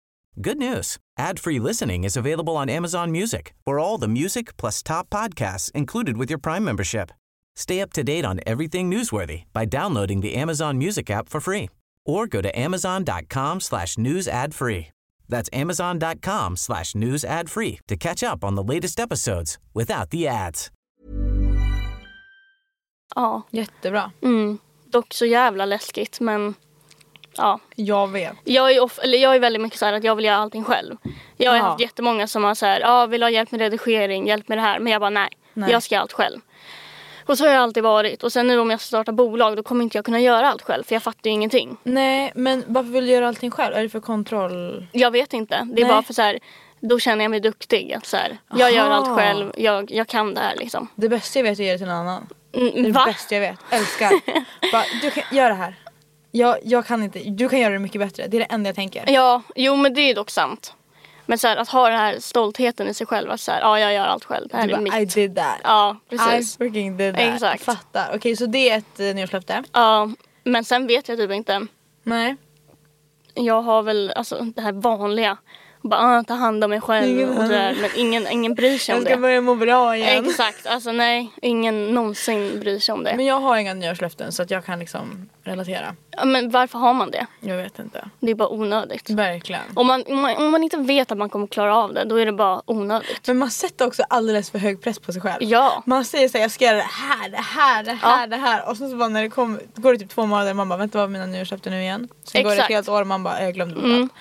Speaker 5: Good news. Ad-free listening is available on Amazon Music. For all the music plus top podcasts included with your Prime membership. Stay up to date on everything newsworthy by downloading the Amazon Music app for free or go to amazon.com slash news ad free. That's amazon.com slash news ad free to catch up on the latest episodes without the ads.
Speaker 2: Ja.
Speaker 1: Jättebra.
Speaker 2: Mm. Dock så jävla läskigt men ja.
Speaker 1: Jag vet.
Speaker 2: Jag är, of- eller jag är väldigt mycket så här att jag vill göra allting själv. Jag har
Speaker 1: Ja.
Speaker 2: haft jättemånga som har så här, ja vill ha hjälp med redigering, hjälp med det här. Men jag bara nej,
Speaker 1: Nej.
Speaker 2: jag ska göra allt själv. Och så har jag alltid varit. Och sen nu om jag ska starta bolag då kommer inte jag kunna göra allt själv för jag fattar ju ingenting.
Speaker 1: Nej men varför vill du göra allting själv? Är det för kontroll?
Speaker 2: Jag vet inte. Det är
Speaker 1: Nej.
Speaker 2: bara för så här, då känner jag mig duktig. Att så här, jag gör
Speaker 1: Aha.
Speaker 2: allt själv, jag, jag kan det här liksom.
Speaker 1: Det bästa jag vet är att ge det till någon annan. Det
Speaker 2: Mm,
Speaker 1: är det
Speaker 2: va?
Speaker 1: bästa jag vet.
Speaker 2: [laughs]
Speaker 1: Älskar. Bara, du kan göra det här. Jag, jag kan inte. Du kan göra det mycket bättre. Det är det enda jag tänker.
Speaker 2: Ja, jo men det är dock sant. Men så här, att ha den här stoltheten i sig själv att så här, ja jag gör allt själv, det här
Speaker 1: Du
Speaker 2: är mitt.
Speaker 1: bara, I did that.
Speaker 2: Ja,
Speaker 1: I
Speaker 2: precis.
Speaker 1: freaking did that.
Speaker 2: Exakt.
Speaker 1: Fattar. Okej så det är ett eh, nyårslöfte.
Speaker 2: Ja, men sen vet jag typ inte.
Speaker 1: Nej.
Speaker 2: Jag har väl alltså, det här vanliga. Bara ah, ta hand om mig
Speaker 1: Ingen
Speaker 2: själv och
Speaker 1: hand-
Speaker 2: sådär. Men ingen, ingen bryr sig
Speaker 1: Jag
Speaker 2: om
Speaker 1: ska
Speaker 2: det.
Speaker 1: börja må bra igen.
Speaker 2: Exakt, alltså nej. Ingen någonsin bryr sig om det.
Speaker 1: Men jag har inga nyårslöften så att jag kan liksom relatera.
Speaker 2: Ja, Men varför har man det?
Speaker 1: Jag vet inte.
Speaker 2: Det är bara onödigt.
Speaker 1: Verkligen.
Speaker 2: Om man, om man, om man inte vet att man kommer klara av det, då är det bara onödigt.
Speaker 1: Men man sätter också alldeles för hög press på sig själv.
Speaker 2: Ja.
Speaker 1: Man säger såhär, jag ska göra det här, det här, det här, det här. Och sen så bara när det kom, går det typ två månader man bara, vänta vad var mina nyårslöften nu igen? Sen går det ett
Speaker 2: Exakt.
Speaker 1: helt år och man bara, jag glömde bort allt.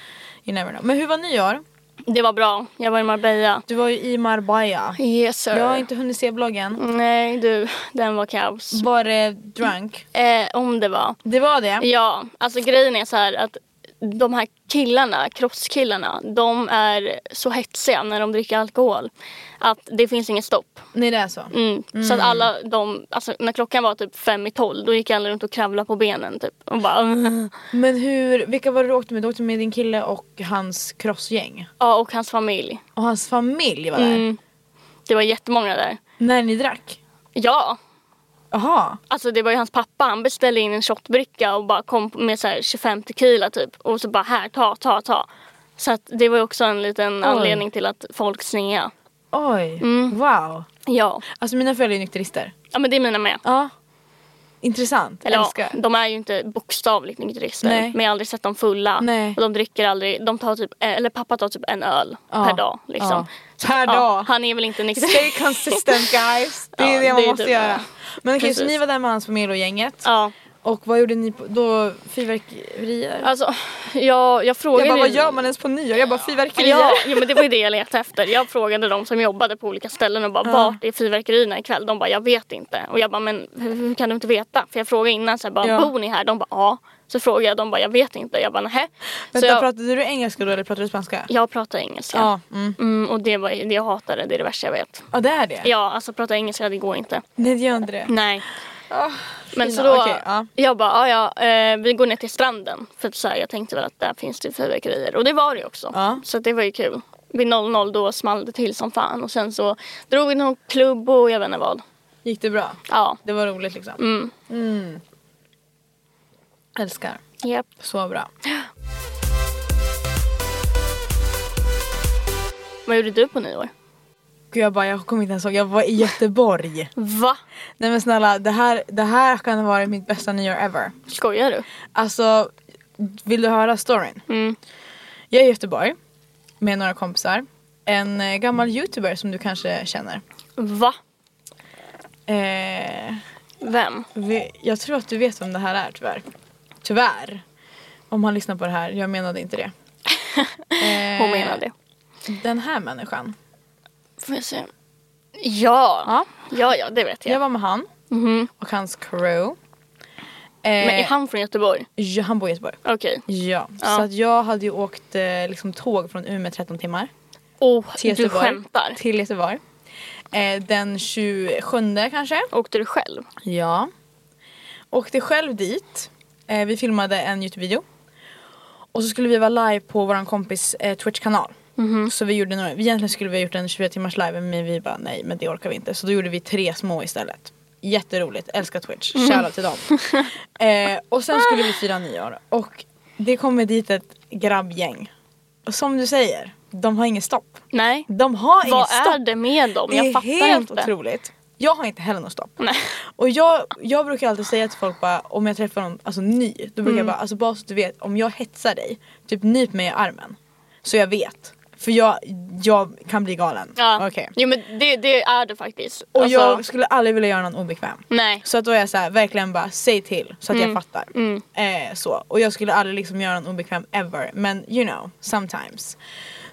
Speaker 1: You never know. Men hur var nyår?
Speaker 2: Det var bra. Jag var i Marbella.
Speaker 1: Du var ju i Marbella.
Speaker 2: Yes sir.
Speaker 1: Jag har inte Mm. hunnit se bloggen.
Speaker 2: Nej du, den var kaos.
Speaker 1: Var det drunk?
Speaker 2: Eh, om det var.
Speaker 1: Det var det?
Speaker 2: Ja, alltså grejen är så här att de här killarna, crosskillarna, de är så hetsiga när de dricker alkohol att det finns inget stopp.
Speaker 1: Nej det är så.
Speaker 2: Mm. Så att alla de, alltså när klockan var typ fem i tolv då gick alla runt och kravlade på benen typ. Och bara, [laughs] "Ugh."
Speaker 1: Men hur, vilka var det du åkte med? Du åkte med din kille och hans crossgäng.
Speaker 2: ja och hans familj.
Speaker 1: Och hans familj var där.
Speaker 2: Mm. Det var jättemånga där.
Speaker 1: När ni drack?
Speaker 2: Ja,
Speaker 1: Jaha.
Speaker 2: alltså det var ju hans pappa, han beställde in en shotbricka och bara kom med så här 25 tequila typ. Och så bara här, ta, ta, ta. Så att det var ju också en liten
Speaker 1: Oj.
Speaker 2: anledning till att folk snea.
Speaker 1: Oj.
Speaker 2: Mm.
Speaker 1: Wow.
Speaker 2: Ja.
Speaker 1: Alltså mina föräldrar är nykterister.
Speaker 2: Ja men det är mina med.
Speaker 1: Ja. Intressant.
Speaker 2: Eller ja,
Speaker 1: Älskar.
Speaker 2: de är ju inte bokstavligt nykterister.
Speaker 1: Nej.
Speaker 2: Men jag har aldrig sett dem fulla.
Speaker 1: Nej.
Speaker 2: Och de dricker aldrig. De tar typ, eller pappa tar typ en öl
Speaker 1: Ja.
Speaker 2: per dag. Liksom.
Speaker 1: Ja.
Speaker 2: Så,
Speaker 1: Per
Speaker 2: ja,
Speaker 1: dag.
Speaker 2: Han är väl inte
Speaker 1: Stay
Speaker 2: nykterist.
Speaker 1: consistent guys. Det är
Speaker 2: [laughs] Ja,
Speaker 1: det man
Speaker 2: det är
Speaker 1: måste
Speaker 2: typ
Speaker 1: göra.
Speaker 2: det.
Speaker 1: Men okej, så
Speaker 2: Precis.
Speaker 1: ni var där med hans familj och gänget.
Speaker 2: [laughs] Ja.
Speaker 1: Och vad gjorde ni på, då? Fyrverkerier?
Speaker 2: Alltså, jag, jag
Speaker 1: jag
Speaker 2: frågade
Speaker 1: bara, vad
Speaker 2: ju-
Speaker 1: gör man ens på nyår? Jag bara, fyrverkerier?
Speaker 2: Ja, [laughs] jo, men det var ju det jag letade efter. Jag frågade de som jobbade på olika ställen och bara
Speaker 1: Ja.
Speaker 2: vart är fyrverkerierna ikväll? De bara jag vet inte. Och jag bara men hur, hur kan du inte veta? För jag frågade innan så här, bara,
Speaker 1: Ja.
Speaker 2: bor ni här? De bara ja. Så frågade jag de bara jag vet inte. Jag bara nähä. Så
Speaker 1: Vänta,
Speaker 2: jag,
Speaker 1: pratade du engelska då eller pratade du spanska?
Speaker 2: jag pratar engelska.
Speaker 1: Ja, mm.
Speaker 2: Mm, och det var det jag hatade, det är det värsta jag vet.
Speaker 1: ja det är det?
Speaker 2: Ja, alltså prata engelska det går inte.
Speaker 1: Nej det gör inte det.
Speaker 2: Nej. Men
Speaker 1: fina,
Speaker 2: så då,
Speaker 1: okej, ja.
Speaker 2: jag bara, ja, ja eh, vi går ner till stranden. För att så här, jag tänkte väl att där finns det fyrverkerier. Och det var det ju också.
Speaker 1: Ja.
Speaker 2: Så att det var ju kul. Vid 00 då small det till som fan. Och sen så drog vi någon klubb och jag vet inte vad.
Speaker 1: Gick det bra?
Speaker 2: Ja.
Speaker 1: Det var roligt liksom?
Speaker 2: Mm.
Speaker 1: Mm. Älskar.
Speaker 2: Japp.
Speaker 1: Så bra.
Speaker 2: Vad gjorde du på nyår?
Speaker 1: Gud, jag bara, jag kommer inte ens ihåg, jag var i Göteborg.
Speaker 2: Va?
Speaker 1: Nej men snälla, det här, det här kan ha varit mitt bästa nyår ever.
Speaker 2: Skojar du?
Speaker 1: Alltså, vill du höra storyn?
Speaker 2: Mm.
Speaker 1: Jag är i Göteborg med några kompisar. En eh, gammal youtuber som du kanske känner.
Speaker 2: Va?
Speaker 1: Eh,
Speaker 2: Vem?
Speaker 1: vi, jag tror att du vet vem det här är tyvärr. Tyvärr. Om han lyssnar på det här, jag menade inte det. Eh,
Speaker 2: [laughs] Hon menar det.
Speaker 1: Den här människan.
Speaker 2: Får jag se? Ja. ja, ja, det vet jag.
Speaker 1: Jag var med han
Speaker 2: Mhm.
Speaker 1: och hans crew. Eh,
Speaker 2: Men är han från Göteborg?
Speaker 1: ja, han bor i Göteborg.
Speaker 2: Okej.
Speaker 1: Ja,
Speaker 2: Ja.
Speaker 1: så att jag hade ju åkt eh, liksom, tåg från Umeå 13 timmar
Speaker 2: Oh,
Speaker 1: till
Speaker 2: du
Speaker 1: Göteborg.
Speaker 2: skämtar.
Speaker 1: Till Göteborg. Eh, den 27 kanske.
Speaker 2: Åkte du själv?
Speaker 1: Ja. Åkte själv dit. Eh, vi filmade en Youtube-video. Och så skulle vi vara live på vår kompis eh, Twitch-kanal.
Speaker 2: Mhm.
Speaker 1: Så vi gjorde några, egentligen skulle vi ha gjort en 24 timmars live men vi bara nej men det orkar vi inte. Så då gjorde vi tre små istället. Jätteroligt, älskar Twitch,
Speaker 2: Mm.
Speaker 1: shoutout till dem.
Speaker 2: [laughs]
Speaker 1: eh, och sen skulle vi fira nyår och det kommer dit ett grabbgäng. Och som du säger, de har inget stopp.
Speaker 2: Nej.
Speaker 1: De har inget
Speaker 2: Vad
Speaker 1: stopp.
Speaker 2: är det med dem? Jag fattar
Speaker 1: Det är helt
Speaker 2: inte.
Speaker 1: otroligt. Jag har inte heller något stopp.
Speaker 2: Nej.
Speaker 1: Och jag, jag brukar alltid säga till folk bara, om jag träffar någon alltså, ny, då brukar
Speaker 2: Mm.
Speaker 1: jag bara, alltså, bara så att du vet, om jag hetsar dig, typ nyp mig i armen. Så jag vet. För jag, jag kan bli galen.
Speaker 2: Ja.
Speaker 1: Okej.
Speaker 2: Jo men det, det är det faktiskt.
Speaker 1: Och
Speaker 2: Alltså,
Speaker 1: jag skulle aldrig vilja göra någon obekväm.
Speaker 2: Nej.
Speaker 1: Så att då är jag så här, verkligen bara säg till så att jag fattar.
Speaker 2: Mm.
Speaker 1: Eh, så. Och jag skulle aldrig liksom göra någon obekväm ever. Men you know, sometimes.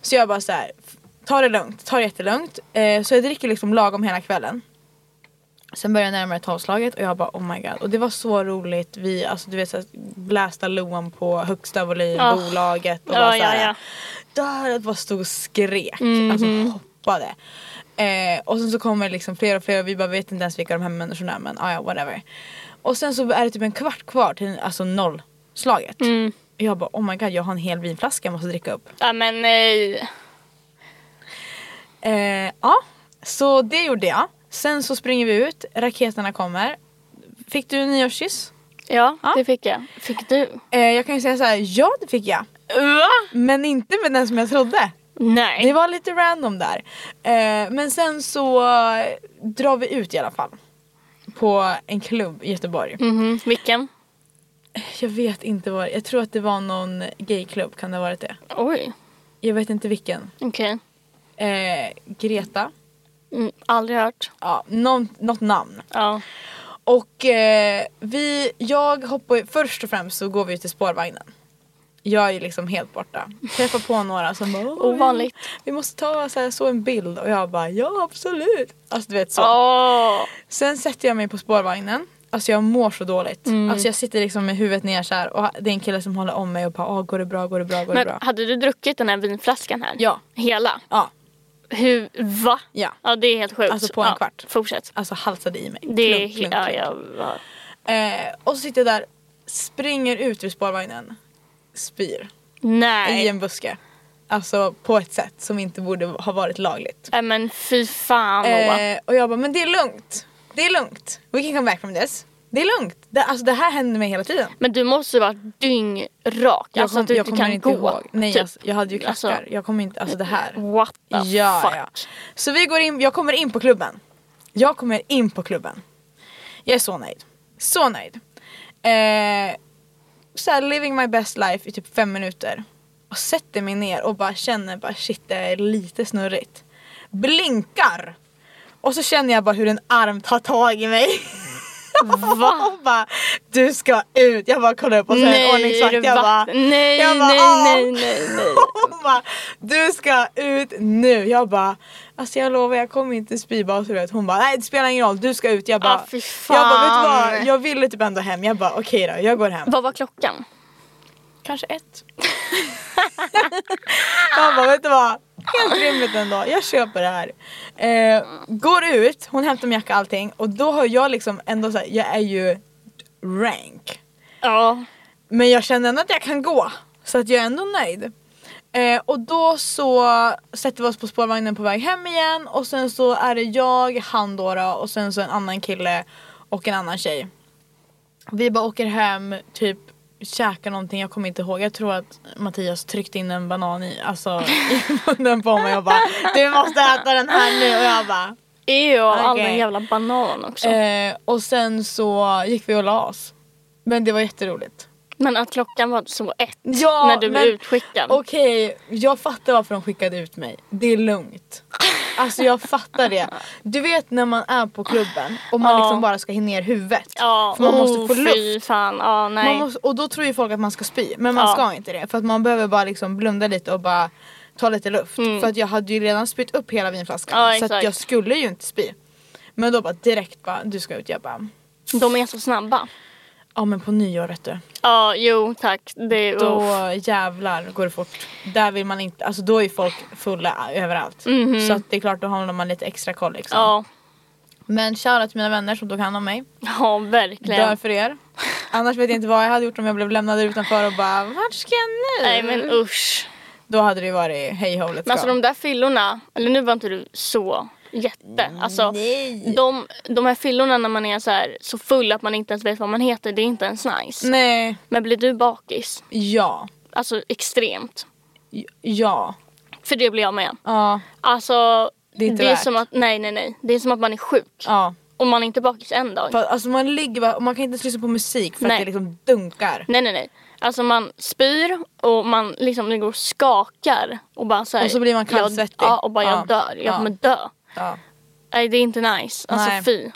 Speaker 1: Så jag bara så här, f- ta det lugnt, ta det jättelugnt. Eh, så jag dricker liksom lagom hela kvällen. Sen börjar jag närma mig tolvslaget och jag bara oh my god. Och det var så roligt. Vi, alltså du vet såhär, blästa Loan på högsta volym,
Speaker 2: Ah.
Speaker 1: bolaget och
Speaker 2: Ja,
Speaker 1: bara så här,
Speaker 2: ja, Mm-hmm. ja.
Speaker 1: där att bara stod och skrek. Alltså hoppade. Eh, och sen så kommer liksom fler och fler och vi bara vet inte ens vilka de här människorna är men ah, ja whatever. Och sen så är det typ en kvart kvar till alltså nollslaget.
Speaker 2: Mm.
Speaker 1: Jag bara oh my god jag har en hel vinflaska jag måste dricka upp.
Speaker 2: Ja men nej.
Speaker 1: Eh, ja, så det gjorde jag. Sen så springer vi ut, raketerna kommer. Fick du en nyårskyss?
Speaker 2: Ja,
Speaker 1: Ja.
Speaker 2: det fick jag. Fick du?
Speaker 1: Eh, jag kan ju säga så här, ja det fick jag.
Speaker 2: Va?
Speaker 1: Men inte med den som jag trodde.
Speaker 2: Nej.
Speaker 1: Det var lite random där. Eh, men sen så eh, drar vi ut i alla fall. På en klubb i Göteborg.
Speaker 2: Mhm. Vilken?
Speaker 1: Jag vet inte vad Jag tror att det var någon gayklubb, kan det ha varit det?
Speaker 2: Oj.
Speaker 1: Jag vet inte vilken.
Speaker 2: Okej.
Speaker 1: Eh, Greta?
Speaker 2: Mm, aldrig hört.
Speaker 1: Ja, någon, något namn.
Speaker 2: Ja.
Speaker 1: Och eh, vi, jag hoppar först och främst så går vi till spårvagnen. Jag är ju liksom helt borta. Träffar på några som bara "Åh,
Speaker 2: Ovanligt.
Speaker 1: Vi måste ta så, här, så en bild och jag bara ja absolut. Alltså du vet så.
Speaker 2: Åh.
Speaker 1: Sen sätter jag mig på spårvagnen. Alltså jag mår så dåligt.
Speaker 2: Mm.
Speaker 1: Alltså jag sitter liksom med huvudet ner så här och det är en kille som håller om mig och bara åh går det bra, går det bra, går det
Speaker 2: Men
Speaker 1: bra.
Speaker 2: hade du druckit den här vinflaskan här?
Speaker 1: Ja.
Speaker 2: Hela?
Speaker 1: Ja,
Speaker 2: Hur? Va?
Speaker 1: ja.
Speaker 2: Ja det är helt sjukt.
Speaker 1: Alltså på en
Speaker 2: ja.
Speaker 1: kvart.
Speaker 2: Fortsätt.
Speaker 1: Alltså halsade i mig.
Speaker 2: Det är
Speaker 1: Klunk, klunk,
Speaker 2: ja,
Speaker 1: klunk.
Speaker 2: ja, va.
Speaker 1: Eh, och så sitter jag där, springer ut ur spårvagnen, spyr. i
Speaker 2: Nej.
Speaker 1: en buske. Alltså på ett sätt som inte borde ha varit lagligt.
Speaker 2: Nej Äh, men fy fan Moa.
Speaker 1: Eh, och jag bara, men det är lugnt. Det är lugnt. We can come back from this. Det är lugnt. Det, alltså det här händer mig hela tiden.
Speaker 2: Men du måste ju vara dyngrak.
Speaker 1: Jag
Speaker 2: alltså
Speaker 1: kom-
Speaker 2: att du
Speaker 1: jag
Speaker 2: inte
Speaker 1: kommer
Speaker 2: kan gå.
Speaker 1: Nej,
Speaker 2: typ.
Speaker 1: jag, jag hade ju klackar.
Speaker 2: Alltså-
Speaker 1: jag kommer inte, alltså det här.
Speaker 2: What the
Speaker 1: Ja,
Speaker 2: fuck.
Speaker 1: ja. Så vi går in, jag kommer in på klubben. Jag kommer in på klubben. Jag är så nöjd. Så nöjd. Eh, så här, living my best life i typ fem minuter. Och sätter mig ner och bara känner bara shit det är lite snurrigt. Blinkar! Och så känner jag bara hur en arm tar tag i mig. Va? [laughs] Och bara, du ska ut! Jag bara kollar upp och så är det en
Speaker 2: Nej, är
Speaker 1: ordningsvakt.
Speaker 2: det
Speaker 1: Jag bara,
Speaker 2: vatten? nej,
Speaker 1: jag bara, "Ah!"
Speaker 2: nej,
Speaker 1: "Åh!"
Speaker 2: nej, nej, nej.
Speaker 1: Hon bara, du ska ut nu. Jag bara, alltså jag lovar jag kommer inte spy bara så du vet. Hon bara, nej det spelar ingen roll, du ska ut. Jag bara,
Speaker 2: Ah, fy fan.
Speaker 1: jag bara vet du vad, jag ville typ ändå hem. Jag bara okej då, jag går hem.
Speaker 2: Vad var klockan?
Speaker 1: Kanske ett. [laughs] jag bara vet du vad, helt rimligt ändå. Jag köper det här. Eh, går ut, hon hämtar min jacka och allting och då har jag liksom ändå så här, jag är ju rank.
Speaker 2: Ja.
Speaker 1: Men jag känner ändå att jag kan gå. Så att jag är ändå nöjd. Eh, och då så sätter vi oss på spårvagnen på väg hem igen och sen så är det jag, han då, då och sen så en annan kille och en annan tjej. Vi bara åker hem typ käka någonting, jag kommer inte ihåg. Jag tror att Mattias tryckte in en banan i, alltså, i [laughs] munnen på mig och bara du måste äta den här nu och jag bara
Speaker 2: Ew, E all
Speaker 1: Okej.
Speaker 2: den jävla banan också.
Speaker 1: eh, Och sen så gick vi och la oss. Men det var jätteroligt.
Speaker 2: Men att klockan var så ett
Speaker 1: Ja,
Speaker 2: när du blev
Speaker 1: men-
Speaker 2: utskickad.
Speaker 1: Okej, jag fattar varför de skickade ut mig. Det är lugnt. Alltså jag fattar det. Du vet när man är på klubben och man
Speaker 2: Ja.
Speaker 1: liksom bara ska hinna ner huvudet.
Speaker 2: ja,
Speaker 1: för man
Speaker 2: oh,
Speaker 1: måste få
Speaker 2: fy
Speaker 1: luft.
Speaker 2: fan. Ja, nej.
Speaker 1: Man måste, och då tror ju folk att man ska spy, men man
Speaker 2: Ja.
Speaker 1: ska inte det. För att man behöver bara liksom blunda lite och bara ta lite luft. För att jag hade ju redan spytt upp hela vinflaskan
Speaker 2: Mm. Ja,
Speaker 1: så att
Speaker 2: exakt.
Speaker 1: jag skulle ju inte spy. Men då bara direkt bara, du ska ut. Jag bara,
Speaker 2: De är så snabba.
Speaker 1: ja men på nyår vet du.
Speaker 2: Ja, jo tack. Det,
Speaker 1: Då
Speaker 2: uff.
Speaker 1: jävlar går det fort. Där vill man inte, alltså då är folk fulla överallt. Så att det är klart då har man lite extra koll liksom.
Speaker 2: Mhm. Ja,
Speaker 1: Men shoutout till mina vänner som tog hand om mig.
Speaker 2: ja verkligen.
Speaker 1: Dör för er. Annars vet jag inte vad jag hade gjort om jag blev lämnad utanför och bara vart ska jag nu?
Speaker 2: Nej men usch.
Speaker 1: Då hade det ju varit hej ho let's
Speaker 2: Men alltså
Speaker 1: go.
Speaker 2: de där fyllorna, eller nu var inte du så jätte. Alltså, de, de här fyllorna när man är så, här, så full att man inte ens vet vad man heter, det är inte ens nice.
Speaker 1: Nej,
Speaker 2: Men blir du bakis,
Speaker 1: ja,
Speaker 2: alltså extremt.
Speaker 1: J- ja,
Speaker 2: För det blir jag med.
Speaker 1: ja,
Speaker 2: Alltså,
Speaker 1: Det är inte värt.
Speaker 2: som att, nej nej nej. Det är som att man är sjuk.
Speaker 1: ja.
Speaker 2: Om man är inte är bakis en dag.
Speaker 1: För, att- alltså man ligger bara, och man kan inte ens lyssna på musik för
Speaker 2: Nej.
Speaker 1: att det liksom dunkar.
Speaker 2: Nej nej nej. Alltså man spyr och man liksom det går och skakar. Och bara så här,
Speaker 1: Och så blir man
Speaker 2: jag-
Speaker 1: kallsvettig.
Speaker 2: Ja och bara
Speaker 1: Ja.
Speaker 2: jag dör, jag
Speaker 1: Ja.
Speaker 2: kommer dö.
Speaker 1: Ja.
Speaker 2: Nej det är inte nice. Alltså
Speaker 1: Nej.
Speaker 2: fy.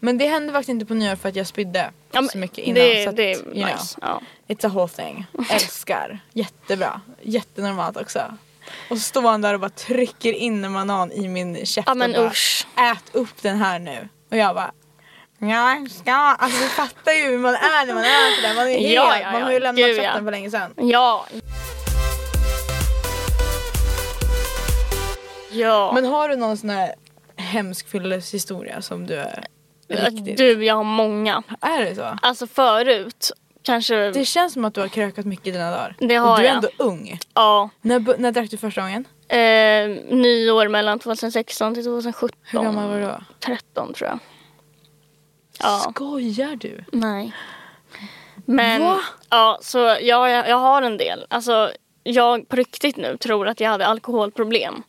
Speaker 1: Men det hände faktiskt inte på nyår för att jag spydde
Speaker 2: Ja, men
Speaker 1: så mycket innan.
Speaker 2: det,
Speaker 1: så att,
Speaker 2: det är
Speaker 1: you know.
Speaker 2: nice. Ja.
Speaker 1: It's a whole thing. Älskar. Jättebra. Jättenormalt också. Och så står han där och bara trycker in en banan i min käft
Speaker 2: Ja, men
Speaker 1: och bara,
Speaker 2: usch.
Speaker 1: Ät upp den här nu. Och jag bara jag ska. Alltså du fattar ju hur man är när man är sådär. Man, är helt,
Speaker 2: Ja, ja,
Speaker 1: man har
Speaker 2: ja.
Speaker 1: ju lämnat
Speaker 2: Gud, ja.
Speaker 1: käften för länge sedan.
Speaker 2: Ja. Ja.
Speaker 1: Men har du någon sån här hemsk fyllehistoria som du är riktigt...
Speaker 2: eh, du, jag har många.
Speaker 1: Är det så?
Speaker 2: Alltså förut kanske...
Speaker 1: Det känns som att du har krökat mycket i dina dagar.
Speaker 2: Det har
Speaker 1: och du är
Speaker 2: jag.
Speaker 1: ändå ung.
Speaker 2: Ja.
Speaker 1: När, bu- när drack du första gången?
Speaker 2: Eh, nyår mellan 2016 till
Speaker 1: Hur
Speaker 2: 2017.
Speaker 1: gammal var du då?
Speaker 2: 13 tror jag. Ja.
Speaker 1: Skojar du?
Speaker 2: Nej. Men,
Speaker 1: Va?
Speaker 2: ja, så jag, jag, jag har en del. Alltså, jag på riktigt nu tror att jag hade alkoholproblem.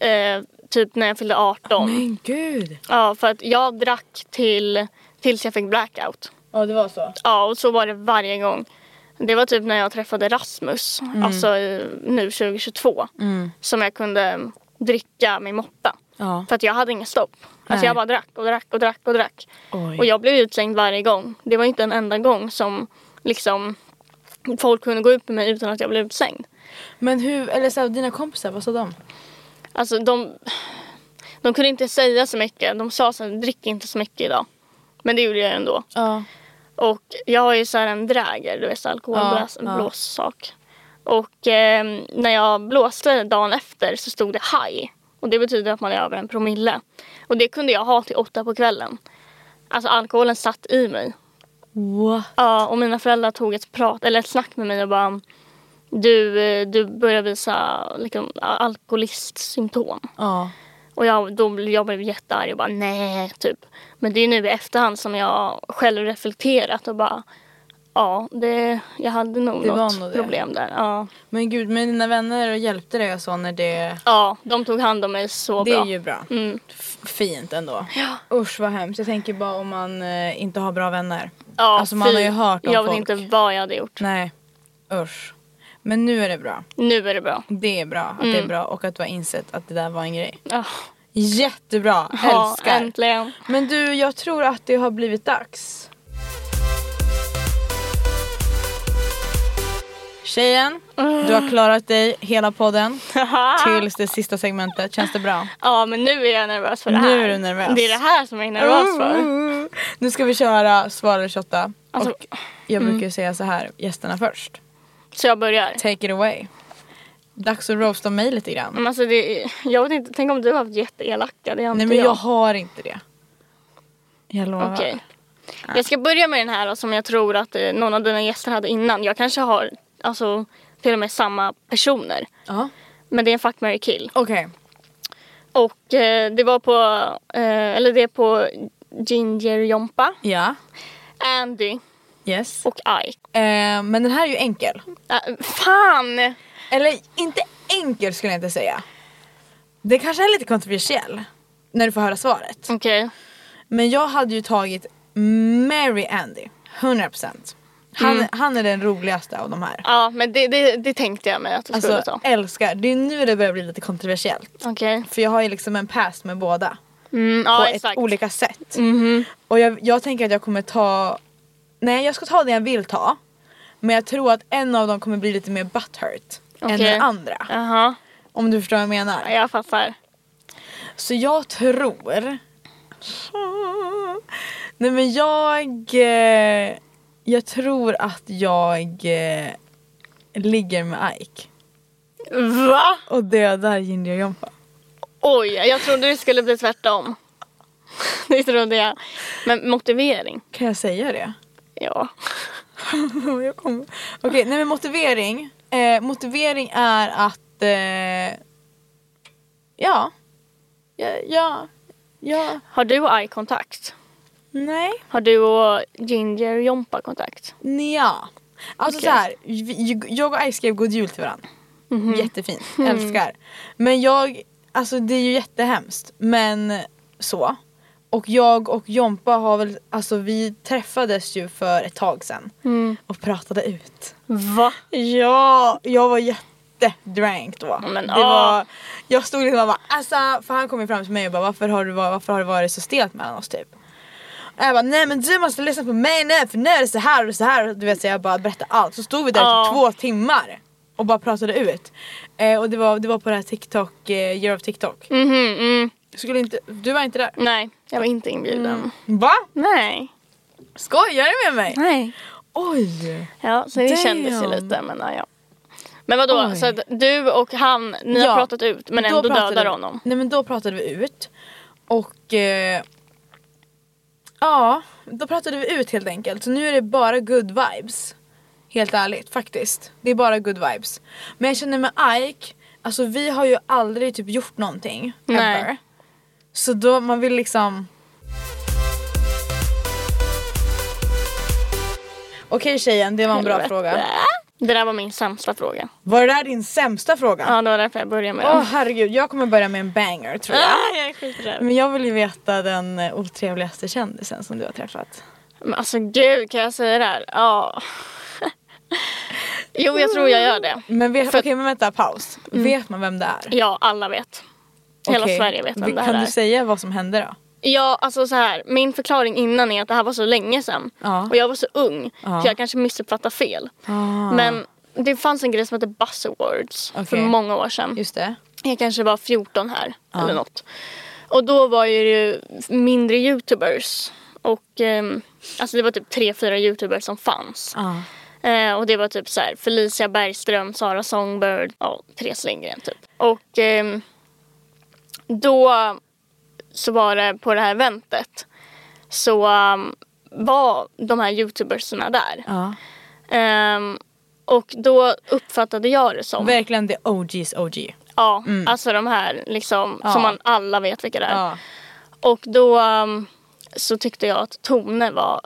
Speaker 2: Eh, typ när jag fyllde 18.
Speaker 1: Men gud.
Speaker 2: Ja, för att jag drack till, tills jag fick blackout.
Speaker 1: Ja det var så.
Speaker 2: Ja, och så var det varje gång. Det var typ när jag träffade Rasmus,
Speaker 1: Mm.
Speaker 2: alltså i, nu 2022, som jag kunde dricka min moppe.
Speaker 1: Ja.
Speaker 2: För att jag hade inga stopp.
Speaker 1: Nej.
Speaker 2: Alltså jag bara drack och drack och drack och drack.
Speaker 1: Oj.
Speaker 2: Och jag blev utslängd varje gång. Det var inte en enda gång som liksom folk kunde gå ut med mig utan att jag blev utslängd.
Speaker 1: Men hur, eller så här, dina kompisar, vad sa de?
Speaker 2: Alltså de, de kunde inte säga så mycket. De sa så här, drick inte så mycket idag. Men det gjorde jag ändå.
Speaker 1: Ja.
Speaker 2: Och jag har ju så här en dräger, du vet så här
Speaker 1: Ja, ja.
Speaker 2: alkoholblåssak. Och eh, när jag blåste dagen efter så stod det haj. Och det betyder att man är över en promille. Och det kunde jag ha till åtta på kvällen. Alltså alkoholen satt i mig.
Speaker 1: What?
Speaker 2: Ja, och mina föräldrar tog ett prat, eller ett snack med mig och bara du, eh, du börjar visa liksom, alkoholistsymptom.
Speaker 1: Ja.
Speaker 2: Och jag, då, blev- jag blev jättearg och bara nej, typ. Men det är nu i efterhand som jag själv reflekterat och bara ja, det, jag hade nog
Speaker 1: Det var
Speaker 2: något
Speaker 1: nog det.
Speaker 2: problem där. Ja.
Speaker 1: Men gud, men dina vänner hjälpte dig och så när det...
Speaker 2: ja, de tog hand om mig så
Speaker 1: Det
Speaker 2: bra.
Speaker 1: är ju bra.
Speaker 2: Mm.
Speaker 1: F- fint ändå. Usch vad hemskt. Jag tänker bara om man eh, inte har bra vänner.
Speaker 2: Ja,
Speaker 1: alltså, man har ju hört om
Speaker 2: Jag
Speaker 1: folk.
Speaker 2: vet inte vad jag hade gjort.
Speaker 1: Nej. Usch. Men nu är det bra.
Speaker 2: Nu är det bra.
Speaker 1: Det är bra att det är bra och att du har insett att det där var en grej.
Speaker 2: Ja,
Speaker 1: Jättebra.
Speaker 2: ja,
Speaker 1: Älskar.
Speaker 2: äntligen.
Speaker 1: Men du, jag tror att det har blivit dags. Tjejen, du har klarat dig hela
Speaker 2: [laughs]
Speaker 1: podden tills det sista segmentet. Känns det bra?
Speaker 2: Ja, men nu är jag nervös för det
Speaker 1: Nu
Speaker 2: här.
Speaker 1: är du nervös. Mm.
Speaker 2: Det är det här som jag är nervös för.
Speaker 1: Nu ska vi köra svar eller shotta.
Speaker 2: Alltså,
Speaker 1: och jag brukar ju säga så här, gästerna först.
Speaker 2: Så jag börjar.
Speaker 1: Take it away. Dags att roasta mig lite grann.
Speaker 2: Men alltså det är, jag vet inte, tänk om du har haft jätteelaka, det har
Speaker 1: Nej
Speaker 2: inte
Speaker 1: men jag har inte det. Jag lovar.
Speaker 2: Okej. Jag ska börja med den här då, som jag tror att eh, någon av dina gäster hade innan. Jag kanske har alltså, till och med samma personer.
Speaker 1: Ja.
Speaker 2: Men det är en fuck, marry, kill.
Speaker 1: Okej.
Speaker 2: Och eh, det var på, eh, eller det är på Ginger Jompa,
Speaker 1: Ja.
Speaker 2: Andy
Speaker 1: Yes.
Speaker 2: och arg.
Speaker 1: Eh, men den här är ju enkel.
Speaker 2: Äh, fan!
Speaker 1: Eller inte enkel skulle jag inte säga. Det kanske är lite kontroversiell när du får höra svaret.
Speaker 2: Okej.
Speaker 1: Men jag hade ju tagit Mary Andy, 100%. Han,
Speaker 2: Mm.
Speaker 1: han är den roligaste av de här.
Speaker 2: Ja men det, det, det tänkte jag mig att du skulle
Speaker 1: Alltså
Speaker 2: ta.
Speaker 1: älskar, det är nu det börjar bli lite kontroversiellt.
Speaker 2: Okej.
Speaker 1: För jag har ju liksom en past med båda.
Speaker 2: Mm,
Speaker 1: på
Speaker 2: ja
Speaker 1: ett
Speaker 2: exakt. Mm-hmm.
Speaker 1: olika sätt. Och jag, jag tänker att jag kommer ta, nej jag ska ta det jag vill ta. Men jag tror att en av dem kommer bli lite mer butthurt än
Speaker 2: Okej.
Speaker 1: den andra.
Speaker 2: Jaha,
Speaker 1: Om du förstår vad jag menar.
Speaker 2: ja, jag fattar.
Speaker 1: Så jag tror... Nej men jag... eh, Jag tror att jag eh, ligger med Ike
Speaker 2: Va?
Speaker 1: och dödar Ginger Jompa.
Speaker 2: Oj, jag trodde det skulle bli tvärtom. [laughs] Det trodde jag. Men motivering?
Speaker 1: Kan jag säga det? [laughs]
Speaker 2: Ja.
Speaker 1: jag kommer... Okej, nej men motivering. Eh, motivering är att... Eh, ja. Ja, ja. Ja.
Speaker 2: Har du och Ai kontakt?
Speaker 1: Nej.
Speaker 2: Har du och Ginger Jompa kontakt?
Speaker 1: Nja. Alltså
Speaker 2: Okej.
Speaker 1: så här, vi- jag och Ice skrev god jul till varandra. Jättefint, älskar. Men jag, alltså det är ju jättehemskt. Men så. Och jag och Jompa har väl, alltså vi träffades ju för ett tag sedan. Och pratade ut.
Speaker 2: Va?
Speaker 1: Ja, jag var jättedrank då.
Speaker 2: Men,
Speaker 1: det
Speaker 2: ah.
Speaker 1: var, jag stod liksom och bara alltså, för han kom ju fram till mig och bara varför har, du, var- varför har det varit så stelt mellan oss typ? Och jag bara nej men du måste lyssna på mig nu för nu är det så här och så här. Du vet så jag bara berättade allt. Så stod vi där i
Speaker 2: Ah.
Speaker 1: typ två timmar och bara pratade ut. Eh, och det var, det var på det här TikTok, eh, Year of TikTok.
Speaker 2: Mhm, mm.
Speaker 1: Jag Skulle inte, du var inte där?
Speaker 2: Nej, jag var inte inbjuden.
Speaker 1: Va?
Speaker 2: Nej.
Speaker 1: Skojar du med mig?
Speaker 2: Nej.
Speaker 1: Oj!
Speaker 2: Ja, så det
Speaker 1: Damn.
Speaker 2: kändes ju lite men ja, ja. Men vadå,
Speaker 1: Oj.
Speaker 2: så att du och han, ni
Speaker 1: Ja.
Speaker 2: har pratat ut men
Speaker 1: Då
Speaker 2: ändå
Speaker 1: pratade
Speaker 2: dödar
Speaker 1: vi-
Speaker 2: honom?
Speaker 1: Nej men då pratade vi ut. Och eh, ja, då pratade vi ut helt enkelt. Så nu är det bara good vibes. Helt ärligt faktiskt. Det är bara good vibes. Men jag känner med Ike, alltså vi har ju aldrig typ gjort någonting.
Speaker 2: Nej.
Speaker 1: Ever. Så då man vill liksom... Okej tjejen, det var en bra
Speaker 2: Helvete.
Speaker 1: fråga.
Speaker 2: Det där var min sämsta fråga.
Speaker 1: Var det där din sämsta fråga?
Speaker 2: Ja, det var därför jag började med
Speaker 1: Åh
Speaker 2: den.
Speaker 1: herregud, jag kommer börja med en banger tror jag.
Speaker 2: Ah, jag är skiträdd.
Speaker 1: Men jag vill ju veta den eh, otrevligaste kändisen som du har träffat.
Speaker 2: Men alltså gud, kan jag säga det här? Ja. [laughs] Jo, jag tror jag gör det.
Speaker 1: Men, vet,
Speaker 2: För-
Speaker 1: okej, men vänta, paus. Vet man vem det är?
Speaker 2: Ja, alla vet. Hela
Speaker 1: Okej.
Speaker 2: Sverige vet vem
Speaker 1: Vi-
Speaker 2: det här
Speaker 1: Kan
Speaker 2: är.
Speaker 1: du säga vad som hände då?
Speaker 2: Ja, alltså så här. Min förklaring innan är att det här var så länge sedan.
Speaker 1: Ja.
Speaker 2: Och jag var så ung.
Speaker 1: Ja. Ah.
Speaker 2: Så jag kanske missuppfattar fel. Men det fanns en grej som hette Buzz Awards för
Speaker 1: Okej.
Speaker 2: många år sedan.
Speaker 1: Just det.
Speaker 2: Jag kanske var 14 här eller något. Och då var ju det ju mindre youtubers. Och ehm, alltså det var typ tre, fyra youtubers som fanns.
Speaker 1: Ja.
Speaker 2: Eh, och det var typ så här Felicia Bergström, Sara Songbird, ja, Therese Lindgren typ. Och ehm, då så var det på det här eventet så ehm, var de här youtubersarna där.
Speaker 1: Ja.
Speaker 2: Ehm, och då uppfattade jag det som
Speaker 1: Verkligen the OG's OG.
Speaker 2: Ja, alltså de här liksom som man alla vet vilka det
Speaker 1: Mm.
Speaker 2: är.
Speaker 1: Ja.
Speaker 2: Och då um, så tyckte jag att Tone var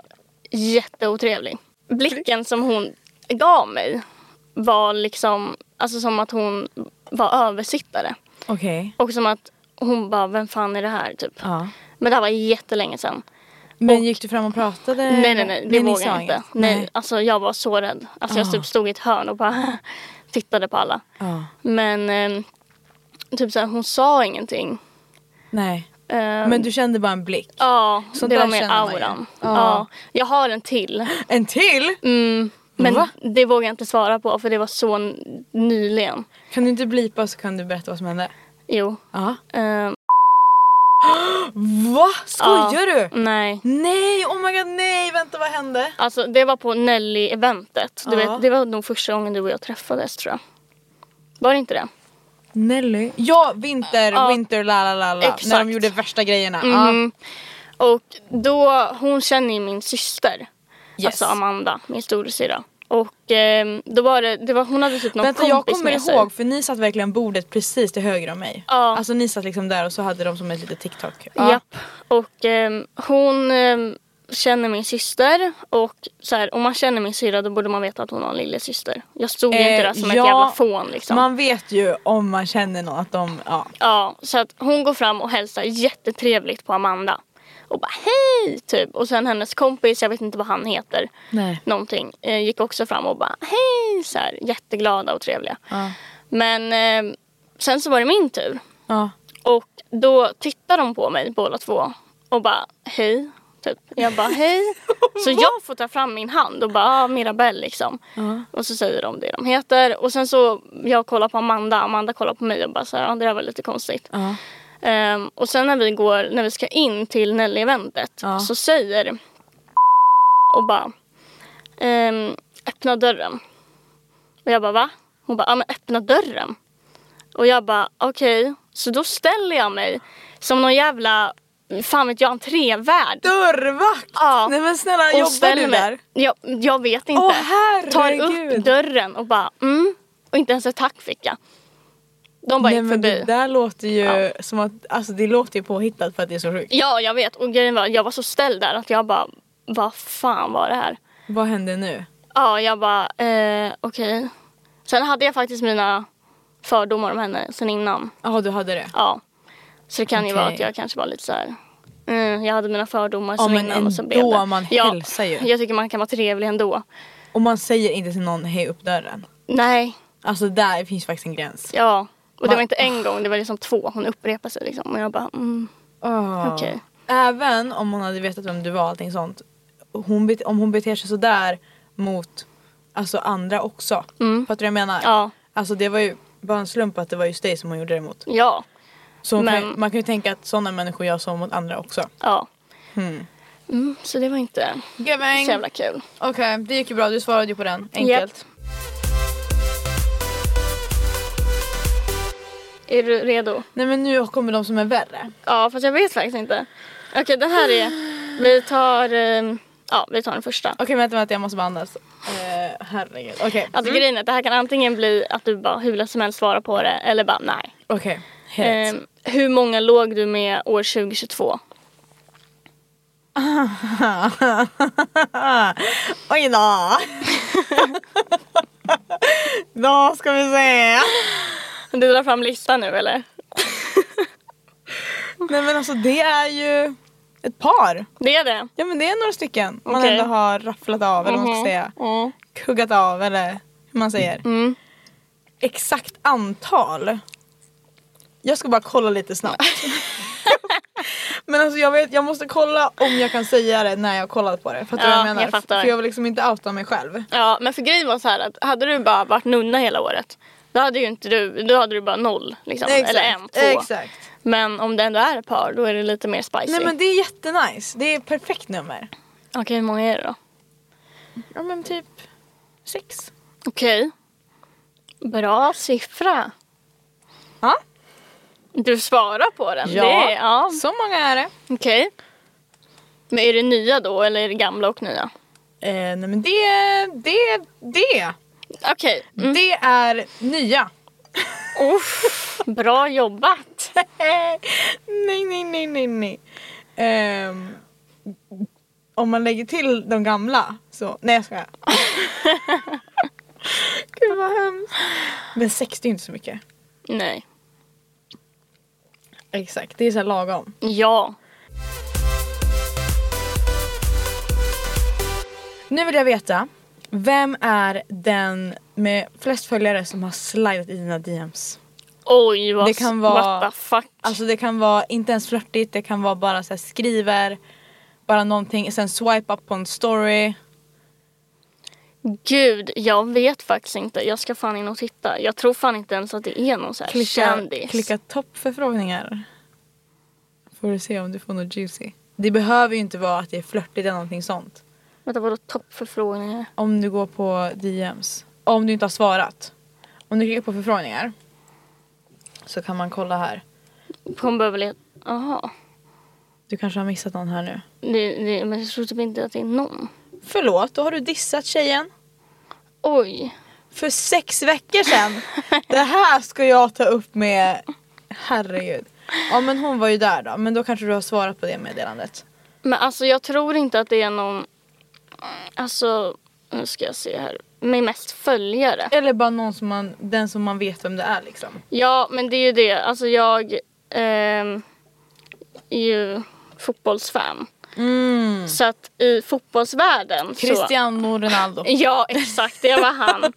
Speaker 2: jätteotrevlig. Blicken som hon gav mig var liksom, alltså som att hon var översittare.
Speaker 1: Okej.
Speaker 2: Och som att hon bara, vem fan är det här typ.
Speaker 1: Ja.
Speaker 2: Men det här var jättelänge sedan.
Speaker 1: Men gick du fram och pratade?
Speaker 2: Nej nej nej, det
Speaker 1: Eh, ni
Speaker 2: vågar
Speaker 1: sa
Speaker 2: jag inte.
Speaker 1: inget? Ah.
Speaker 2: Nej, alltså jag var så rädd. Alltså jag typ stod i ett hörn och bara [laughs] tittade på alla.
Speaker 1: Ja.
Speaker 2: Men ehm, typ såhär, hon sa ingenting.
Speaker 1: Nej.
Speaker 2: Ehm,
Speaker 1: Men du kände bara en blick?
Speaker 2: Ja,
Speaker 1: Sånt
Speaker 2: det
Speaker 1: där
Speaker 2: var mer
Speaker 1: känner man ju.
Speaker 2: auran.
Speaker 1: Ja.
Speaker 2: Ja. Jag har en till. Mm,
Speaker 1: En till?
Speaker 2: Men
Speaker 1: Va?
Speaker 2: det vågar jag inte svara på för det var så n- nyligen.
Speaker 1: Kan du inte blipa så kan du berätta vad som hände?
Speaker 2: Jo.
Speaker 1: Ja.
Speaker 2: Ehm,
Speaker 1: Va? Skojar du?
Speaker 2: nej.
Speaker 1: Nej, oh my god, nej, vänta vad hände?
Speaker 2: Alltså det var på Nelly-eventet.
Speaker 1: Ja.
Speaker 2: Du vet, det var nog första gången du och jag träffades tror jag. Var det inte det?
Speaker 1: Nelly? Ja, vinter,
Speaker 2: Ja.
Speaker 1: winter, la la la la. När
Speaker 2: Exakt.
Speaker 1: de gjorde värsta grejerna.
Speaker 2: Mm. Och då, hon känner ju min syster.
Speaker 1: Ja. Yes.
Speaker 2: Alltså Amanda, min storasyrra. Och ehm, då var det, det var, hon hade typ någon
Speaker 1: Vänta, jag
Speaker 2: kompis
Speaker 1: kommer
Speaker 2: med sig.
Speaker 1: ihåg för ni satt verkligen bordet precis till höger om mig.
Speaker 2: Ja.
Speaker 1: Alltså ni satt liksom där och så hade de som ett litet TikTok.
Speaker 2: Japp. Och ehm, hon ehm, känner min syster och så här, om man känner min syrra då borde man veta att hon har en lillasyster. Jag stod ju inte där som ett jävla fån liksom.
Speaker 1: Eh, Man vet ju om man känner någon att de, ja.
Speaker 2: Ja, så att hon går fram och hälsar jättetrevligt på Amanda. Och bara hej typ. Och sen hennes kompis, jag vet inte vad han heter.
Speaker 1: Nej.
Speaker 2: Någonting. Eh, gick också fram och bara hej så här. Jätteglada och trevliga.
Speaker 1: Ja.
Speaker 2: Men eh, sen så var det min tur.
Speaker 1: ja.
Speaker 2: Och då tittar de på mig båda två och bara hej. Typ. Jag bara hej. Så jag får ta fram min hand och bara ah, Mirabelle liksom. Och så säger de det de heter. Och sen så jag kollar på Amanda. Amanda kollar på mig och bara så här, ah, det där var lite konstigt.
Speaker 1: Ja.
Speaker 2: Ehm, och sen när vi går, när vi ska in till Nelly-eventet
Speaker 1: Ja.
Speaker 2: så säger och bara ehm, öppna dörren. Och jag bara va? Hon bara ja men öppna dörren. Och jag bara okej. Så då ställer jag mig som någon jävla, fan vet jag, entrévärd.
Speaker 1: Dörrvakt!
Speaker 2: Ja.
Speaker 1: Nej men snälla jobbar
Speaker 2: ställer
Speaker 1: du
Speaker 2: mig-
Speaker 1: där?
Speaker 2: Jag, jag vet inte.
Speaker 1: Åh, herregud.
Speaker 2: Tar upp dörren och bara mm. Och inte ens ett tack fick jag. De bara
Speaker 1: Nej
Speaker 2: gick
Speaker 1: men
Speaker 2: förbi.
Speaker 1: det där låter ju
Speaker 2: Ja.
Speaker 1: som att, alltså det låter ju påhittat för att det är så sjukt.
Speaker 2: Ja, jag vet. Och grejen var, jag var så ställd där att jag bara, vad fan var det här?
Speaker 1: Vad händer nu?
Speaker 2: Ja, jag bara, eh, okej. Sen hade jag faktiskt mina fördomar om henne sen innan.
Speaker 1: Jaha du hade det?
Speaker 2: Ja. Så det kan ju vara
Speaker 1: Okej.
Speaker 2: att jag kanske var lite så här. Mm, jag hade mina fördomar
Speaker 1: Ja,
Speaker 2: sen
Speaker 1: men
Speaker 2: innan och så
Speaker 1: ändå,
Speaker 2: blev det.
Speaker 1: man
Speaker 2: ja,
Speaker 1: hälsar ju.
Speaker 2: Jag tycker man kan vara trevlig ändå.
Speaker 1: Och man säger inte till någon hej upp dörren.
Speaker 2: Nej,
Speaker 1: Alltså där finns faktiskt en gräns.
Speaker 2: ja. Och det
Speaker 1: Man-
Speaker 2: var inte en gång, det var liksom två. Hon upprepade sig liksom. Och jag bara, mm,
Speaker 1: Oh.
Speaker 2: okej.
Speaker 1: Även om hon hade vetat vem du var och allting sånt. Hon bet- om hon beter sig sådär mot alltså, andra också.
Speaker 2: Mm.
Speaker 1: Fattar du vad jag menar?
Speaker 2: Ja.
Speaker 1: Alltså det var ju bara en slump att det var just dig som hon gjorde det mot.
Speaker 2: Ja.
Speaker 1: Så hon kan,
Speaker 2: Men-
Speaker 1: man kan ju tänka att sådana människor gör så mot andra också.
Speaker 2: Ja.
Speaker 1: Mm.
Speaker 2: Mm, så det var inte
Speaker 1: Giving!
Speaker 2: så jävla kul.
Speaker 1: Okej, det gick ju bra. Du svarade ju på den. Enkelt.
Speaker 2: Är du redo?
Speaker 1: Nej men nu kommer de som är värre.
Speaker 2: Ja, fast jag vet faktiskt inte. Okej, det här är... Vi tar... ehm, Ja, vi tar den första.
Speaker 1: Okej vänta, vänta jag måste bara andas. Eh, herregud. Okej.
Speaker 2: Alltså grejen är att det här kan antingen bli att du bara hur lätt som helst svarar på det eller bara nej.
Speaker 1: Okej. Het.
Speaker 2: Ehm, hur många låg du med år 2022?
Speaker 1: Oj [laughs] då! då ska vi se.
Speaker 2: Du drar fram listan nu eller?
Speaker 1: Nej men alltså det är ju ett par.
Speaker 2: Det är det?
Speaker 1: Ja men det är några stycken man
Speaker 2: Okej.
Speaker 1: ändå har rafflat av eller vad man ska
Speaker 2: Mhm.
Speaker 1: säga.
Speaker 2: Mm.
Speaker 1: Kuggat av eller hur man säger.
Speaker 2: Mm.
Speaker 1: Exakt antal. Jag ska bara kolla lite
Speaker 2: [laughs]
Speaker 1: snabbt. men alltså jag vet, jag måste kolla om jag kan säga det när jag har kollat på det. Fattar du
Speaker 2: Ja,
Speaker 1: vad jag menar?
Speaker 2: jag fattar.
Speaker 1: För jag vill liksom inte outa mig själv.
Speaker 2: Ja, men för grejen var så här att hade du bara varit nunna hela året då hade ju inte du, då hade du bara noll liksom. Eller en, två.
Speaker 1: Exakt.
Speaker 2: Men om det ändå är ett par då är det lite mer spicy.
Speaker 1: Nej men det är jättenice. Det är ett perfekt nummer.
Speaker 2: Okej, hur många är det då?
Speaker 1: Ja men typ sex.
Speaker 2: Okej. Bra siffra.
Speaker 1: Ja.
Speaker 2: Du svarar på den.
Speaker 1: Ja.
Speaker 2: Det är, ja.
Speaker 1: Så många är det.
Speaker 2: Okej. Men är det nya då eller är det gamla och nya?
Speaker 1: Eh, nej men det, det, det.
Speaker 2: Okej. Mm.
Speaker 1: Det är nya.
Speaker 2: Uff, bra jobbat.
Speaker 1: Eh, nej nej nej nej nej. Ehm, om man lägger till de gamla så, nej jag [laughs] skojar. Gud vad hemskt. Men 60 är inte så mycket.
Speaker 2: Nej.
Speaker 1: Exakt, det är så här lagom.
Speaker 2: Ja.
Speaker 1: Nu vill jag veta, vem är den med flest följare som har slidat i dina DMs?
Speaker 2: Oj, vad,
Speaker 1: Det kan vara-
Speaker 2: what the fuck.
Speaker 1: Alltså det kan vara inte ens flörtigt, det kan vara bara så här skriver, bara någonting, sen swipe up på en story.
Speaker 2: Gud, jag vet faktiskt inte. Jag ska fan in och titta. Jag tror fan inte ens att det är någon så här
Speaker 1: Klicka,
Speaker 2: kändis.
Speaker 1: klicka toppförfrågningar. Får du se om du får något juicy. Det behöver ju inte vara att det är flörtigt eller någonting sånt.
Speaker 2: Vänta, vadå toppförfrågningar?
Speaker 1: Om du går på DMs. Om du inte har svarat. Om du klickar på förfrågningar. Så kan man kolla här.
Speaker 2: Hon behöver leta... Jaha.
Speaker 1: Du kanske har missat någon här nu.
Speaker 2: Det, det, men jag tror typ inte att det är någon.
Speaker 1: Förlåt, då har du dissat tjejen.
Speaker 2: Oj.
Speaker 1: För sex veckor
Speaker 2: [laughs]
Speaker 1: sedan. Det här ska jag ta upp med... Herregud. Ja men hon var ju där då. Men då kanske du har svarat på det meddelandet.
Speaker 2: Men alltså jag tror inte att det är någon, alltså nu ska jag se här, med mest följare.
Speaker 1: Eller bara någon som man, den som man vet vem det är liksom.
Speaker 2: Ja men det är ju det, alltså jag ehm, är ju fotbollsfan.
Speaker 1: Mm.
Speaker 2: Så att i fotbollsvärlden Mm, så
Speaker 1: Cristiano Ronaldo.
Speaker 2: Ja, exakt. Det var han.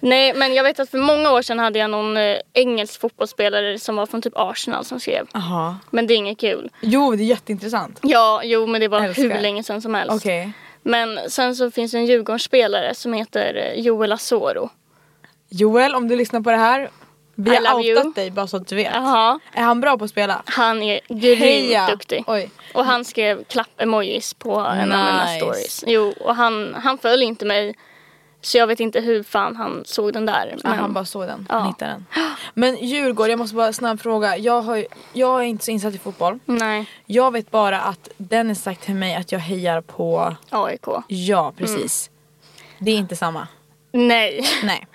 Speaker 2: Nej, men jag vet att för många år sedan hade jag någon eh, engelsk fotbollsspelare som var från typ Arsenal som skrev.
Speaker 1: Jaha.
Speaker 2: Men det är inget kul.
Speaker 1: Jo det är jätteintressant.
Speaker 2: Ja, jo, men det var
Speaker 1: Älskar.
Speaker 2: hur länge sedan som helst.
Speaker 1: Okej.
Speaker 2: Men sen så finns det en Djurgårdsspelare som heter eh, Joel Asoro.
Speaker 1: Joel om du lyssnar på det här. Vi
Speaker 2: I love
Speaker 1: har outat
Speaker 2: you.
Speaker 1: dig bara så att du vet.
Speaker 2: Jaha.
Speaker 1: Är han bra på att spela?
Speaker 2: Han är grymt
Speaker 1: Heja!
Speaker 2: duktig.
Speaker 1: Oj.
Speaker 2: Och han skrev klapp-emojis på en av mina
Speaker 1: Nice.
Speaker 2: stories. Jo, och han, han följer inte mig. Så jag vet inte hur fan han såg den där.
Speaker 1: Men
Speaker 2: men-
Speaker 1: han bara såg den,
Speaker 2: Ja.
Speaker 1: han hittade den. Men Djurgården, jag måste bara snabb fråga. Jag, har, ju- jag är inte så insatt i fotboll.
Speaker 2: Nej,
Speaker 1: Jag vet bara att Dennis sagt till mig att jag hejar på,
Speaker 2: AIK.
Speaker 1: ja
Speaker 2: Mm.
Speaker 1: precis. Det är inte samma.
Speaker 2: Nej.
Speaker 1: Nej.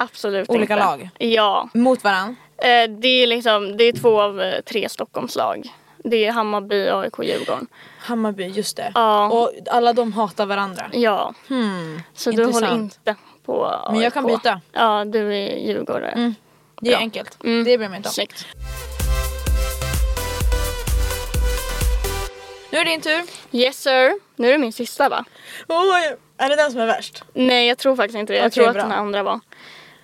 Speaker 2: Absolut
Speaker 1: Olika
Speaker 2: inte.
Speaker 1: lag?
Speaker 2: Ja.
Speaker 1: Mot varann.
Speaker 2: Eh, Det är, liksom, det är två av eh, tre Stockholmslag. Det är Hammarby, AIK, Djurgården.
Speaker 1: Hammarby, just det.
Speaker 2: Ja.
Speaker 1: Och alla de hatar varandra.
Speaker 2: Ja. Så du
Speaker 1: Hmm. intressant.
Speaker 2: håller inte på AIK.
Speaker 1: Men jag kan byta.
Speaker 2: Ja, du är djurgårdare.
Speaker 1: Mm, Det är
Speaker 2: Ja.
Speaker 1: enkelt.
Speaker 2: Mm.
Speaker 1: Det bryr mig inte om.
Speaker 2: Snyggt.
Speaker 1: Nu är det din tur.
Speaker 2: Yes sir. Nu är det min sista va?
Speaker 1: Oj, är det den som är värst?
Speaker 2: Nej, jag tror faktiskt inte det. Jag
Speaker 1: Okej,
Speaker 2: tror att
Speaker 1: bra.
Speaker 2: den andra var.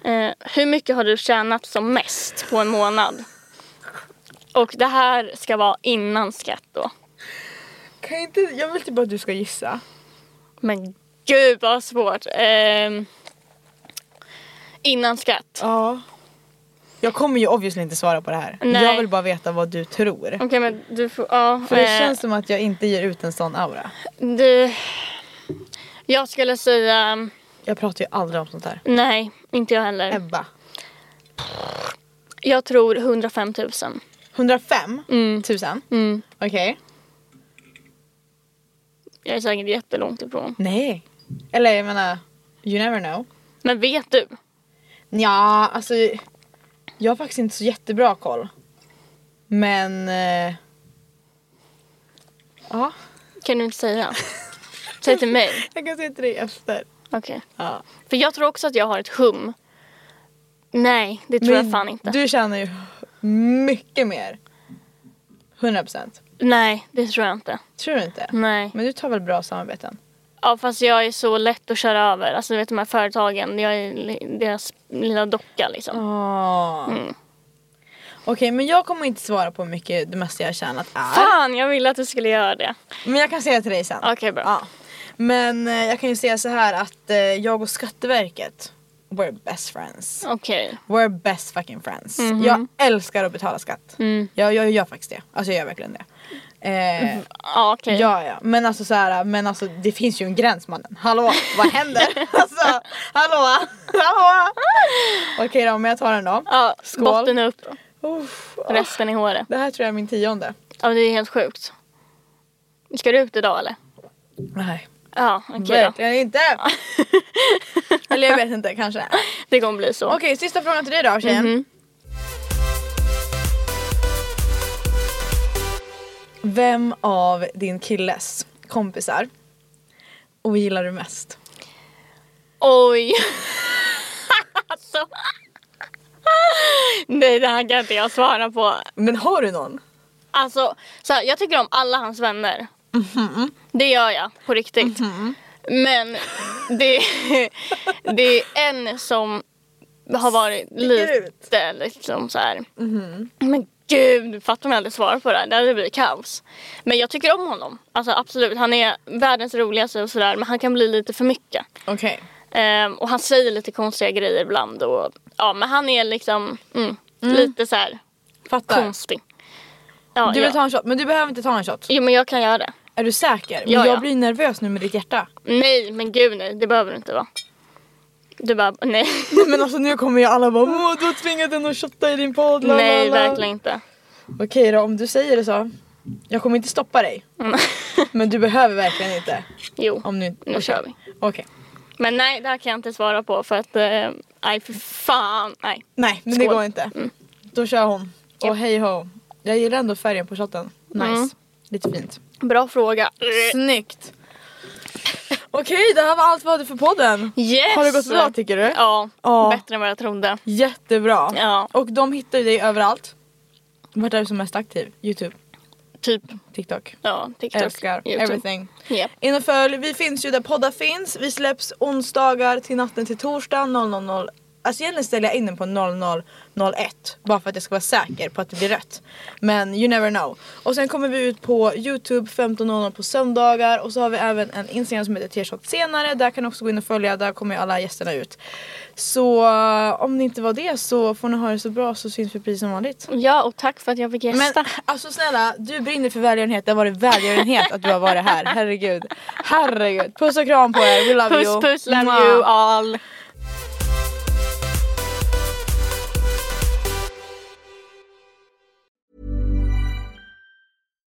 Speaker 2: Eh, hur mycket har du tjänat som mest på en månad? Och det här ska vara innan skatt då.
Speaker 1: Kan jag, inte, jag vill typ att du ska gissa.
Speaker 2: Men gud vad svårt. Ehm, innan skatt.
Speaker 1: Ja. Jag kommer ju obviously inte svara på det här.
Speaker 2: Nej.
Speaker 1: Jag vill bara veta vad du tror.
Speaker 2: Okej men du får, ja.
Speaker 1: För det
Speaker 2: eh,
Speaker 1: känns som att jag inte ger ut en sån aura.
Speaker 2: du, jag skulle säga,
Speaker 1: Jag pratar ju aldrig om sånt här.
Speaker 2: nej inte jag heller.
Speaker 1: Ebba.
Speaker 2: Jag tror 105 000.
Speaker 1: 105
Speaker 2: Mm.
Speaker 1: tusen? Okej.
Speaker 2: Jag är säkert jättelångt ifrån.
Speaker 1: Nej. Eller jag menar, you never know.
Speaker 2: Men vet du?
Speaker 1: Ja, alltså. Jag har faktiskt inte så jättebra koll. Men... eh, Ja,
Speaker 2: Kan du inte säga? Säg till mig.
Speaker 1: jag kan se till dig efter.
Speaker 2: Okej.
Speaker 1: Ja.
Speaker 2: För jag tror också att jag har ett hum. Nej, det tror jag fan inte.
Speaker 1: Du tjänar ju mycket mer. 100%.
Speaker 2: Nej, det tror jag inte.
Speaker 1: Tror du inte?
Speaker 2: Nej.
Speaker 1: Men du tar väl bra samarbeten?
Speaker 2: Ja fast jag är så lätt att köra över. Alltså du vet de här företagen, jag är li- deras lilla docka liksom.
Speaker 1: Oh. Okej, men jag kommer inte svara på hur mycket det mesta jag har tjänat är.
Speaker 2: Fan jag ville att du skulle göra det.
Speaker 1: Men jag kan säga till dig sen.
Speaker 2: Okej bra.
Speaker 1: Ja. Men eh, jag kan ju säga så här att eh, jag och Skatteverket, we're best friends.
Speaker 2: Okej.
Speaker 1: We're best fucking friends. Jag älskar att betala skatt. Jag, jag gör faktiskt det. Alltså jag gör verkligen det. Eh,
Speaker 2: Ja okej.
Speaker 1: Ja, ja. Men, alltså, så här, men alltså det finns ju en gräns mannen. Hallå, vad [laughs] händer? alltså, hallå, hallå. Okej då, men jag tar den då.
Speaker 2: Ja,
Speaker 1: Skål.
Speaker 2: botten upp,
Speaker 1: Uff, ah.
Speaker 2: resten i håret.
Speaker 1: det här tror jag är min tionde.
Speaker 2: Ja det är helt sjukt. Ska du ut idag eller?
Speaker 1: Nej,
Speaker 2: Ja okej då.
Speaker 1: verkligen inte. [laughs] Eller jag vet inte, kanske.
Speaker 2: Det kommer bli så.
Speaker 1: Okej, sista frågan till dig då tjejen.
Speaker 2: Mhm.
Speaker 1: Vem av din killes kompisar ogillar du mest?
Speaker 2: Oj. [laughs] alltså. [laughs] Nej det här kan inte jag svara på.
Speaker 1: Men har du någon?
Speaker 2: Alltså, så här, jag tycker om alla hans vänner. Det gör jag, på riktigt. Men det, det är en som har varit
Speaker 1: ut.
Speaker 2: lite liksom så här. Men gud, fattar om jag hade svarat på det här. Det hade blivit kaos. Men jag tycker om honom. Alltså absolut, han är världens roligaste och sådär. Men han kan bli lite för mycket.
Speaker 1: Okej.
Speaker 2: Ehm, och han säger lite konstiga grejer ibland. Och, ja, men han är liksom mm, lite så här
Speaker 1: Fattar.
Speaker 2: konstig. Ja,
Speaker 1: Du vill
Speaker 2: ja.
Speaker 1: ta en shot, men du behöver inte ta en shot.
Speaker 2: Jo men jag kan göra det.
Speaker 1: Är du säker? Men
Speaker 2: Ja,
Speaker 1: jag
Speaker 2: ja.
Speaker 1: blir nervös nu med ditt
Speaker 2: [laughs]
Speaker 1: hjärta.
Speaker 2: Nej men gud nej, det behöver du inte vara. Du bara, [laughs] nej.
Speaker 1: Men alltså nu kommer ju alla bara Åh, du har tvingat henne att shotta i din podd. la, la,
Speaker 2: nej
Speaker 1: la."
Speaker 2: verkligen inte.
Speaker 1: Okej då, om du säger det så. Jag kommer inte stoppa dig.
Speaker 2: Mm. [laughs]
Speaker 1: Men du behöver verkligen inte.
Speaker 2: Jo,
Speaker 1: Om du inte...
Speaker 2: nu kör vi.
Speaker 1: Okej.
Speaker 2: Men nej, det här kan jag inte svara på för att, eh, nej för fan, nej.
Speaker 1: Nej, men det
Speaker 2: Skål. Mm.
Speaker 1: går inte.
Speaker 2: Mm.
Speaker 1: Då kör hon. Och hej ho. Jag gillar ändå färgen på shotten. Nice. Lite fint.
Speaker 2: Bra fråga.
Speaker 1: Snyggt. Okej, det här var allt vi hade för podden.
Speaker 2: Yes!
Speaker 1: Har det gått bra tycker du?
Speaker 2: Ja,
Speaker 1: Ja.
Speaker 2: bättre än vad jag trodde.
Speaker 1: Jättebra.
Speaker 2: Ja,
Speaker 1: Och de hittar ju dig överallt. Vart är du som mest aktiv? Youtube,
Speaker 2: typ.
Speaker 1: TikTok,
Speaker 2: Ja, TikTok.
Speaker 1: älskar,
Speaker 2: YouTube.
Speaker 1: everything.
Speaker 2: Yep.
Speaker 1: In och följ, vi finns ju där poddar finns. Vi släpps onsdagar till natten till torsdag 000. Alltså egentligen ställer jag in den på 0001 bara för att jag ska vara säker på att det blir rätt. Men you never know. Och sen kommer vi ut på Youtube 15.00 på söndagar och så har vi även en Instagram som heter T-shot senare. Där kan ni också gå in och följa, där kommer ju alla gästerna ut. Så eh, om det inte var det så får ni ha det så bra så syns vi precis som vanligt.
Speaker 2: Ja, och tack för att jag fick
Speaker 1: Men
Speaker 2: gästa.
Speaker 1: alltså snälla, du brinner för välgörenhet. Det har varit välgörenhet att du har varit här. Herregud. Herregud. Puss och kram på er. We love you.
Speaker 2: puss, puss, love
Speaker 1: Mwah.
Speaker 2: you all.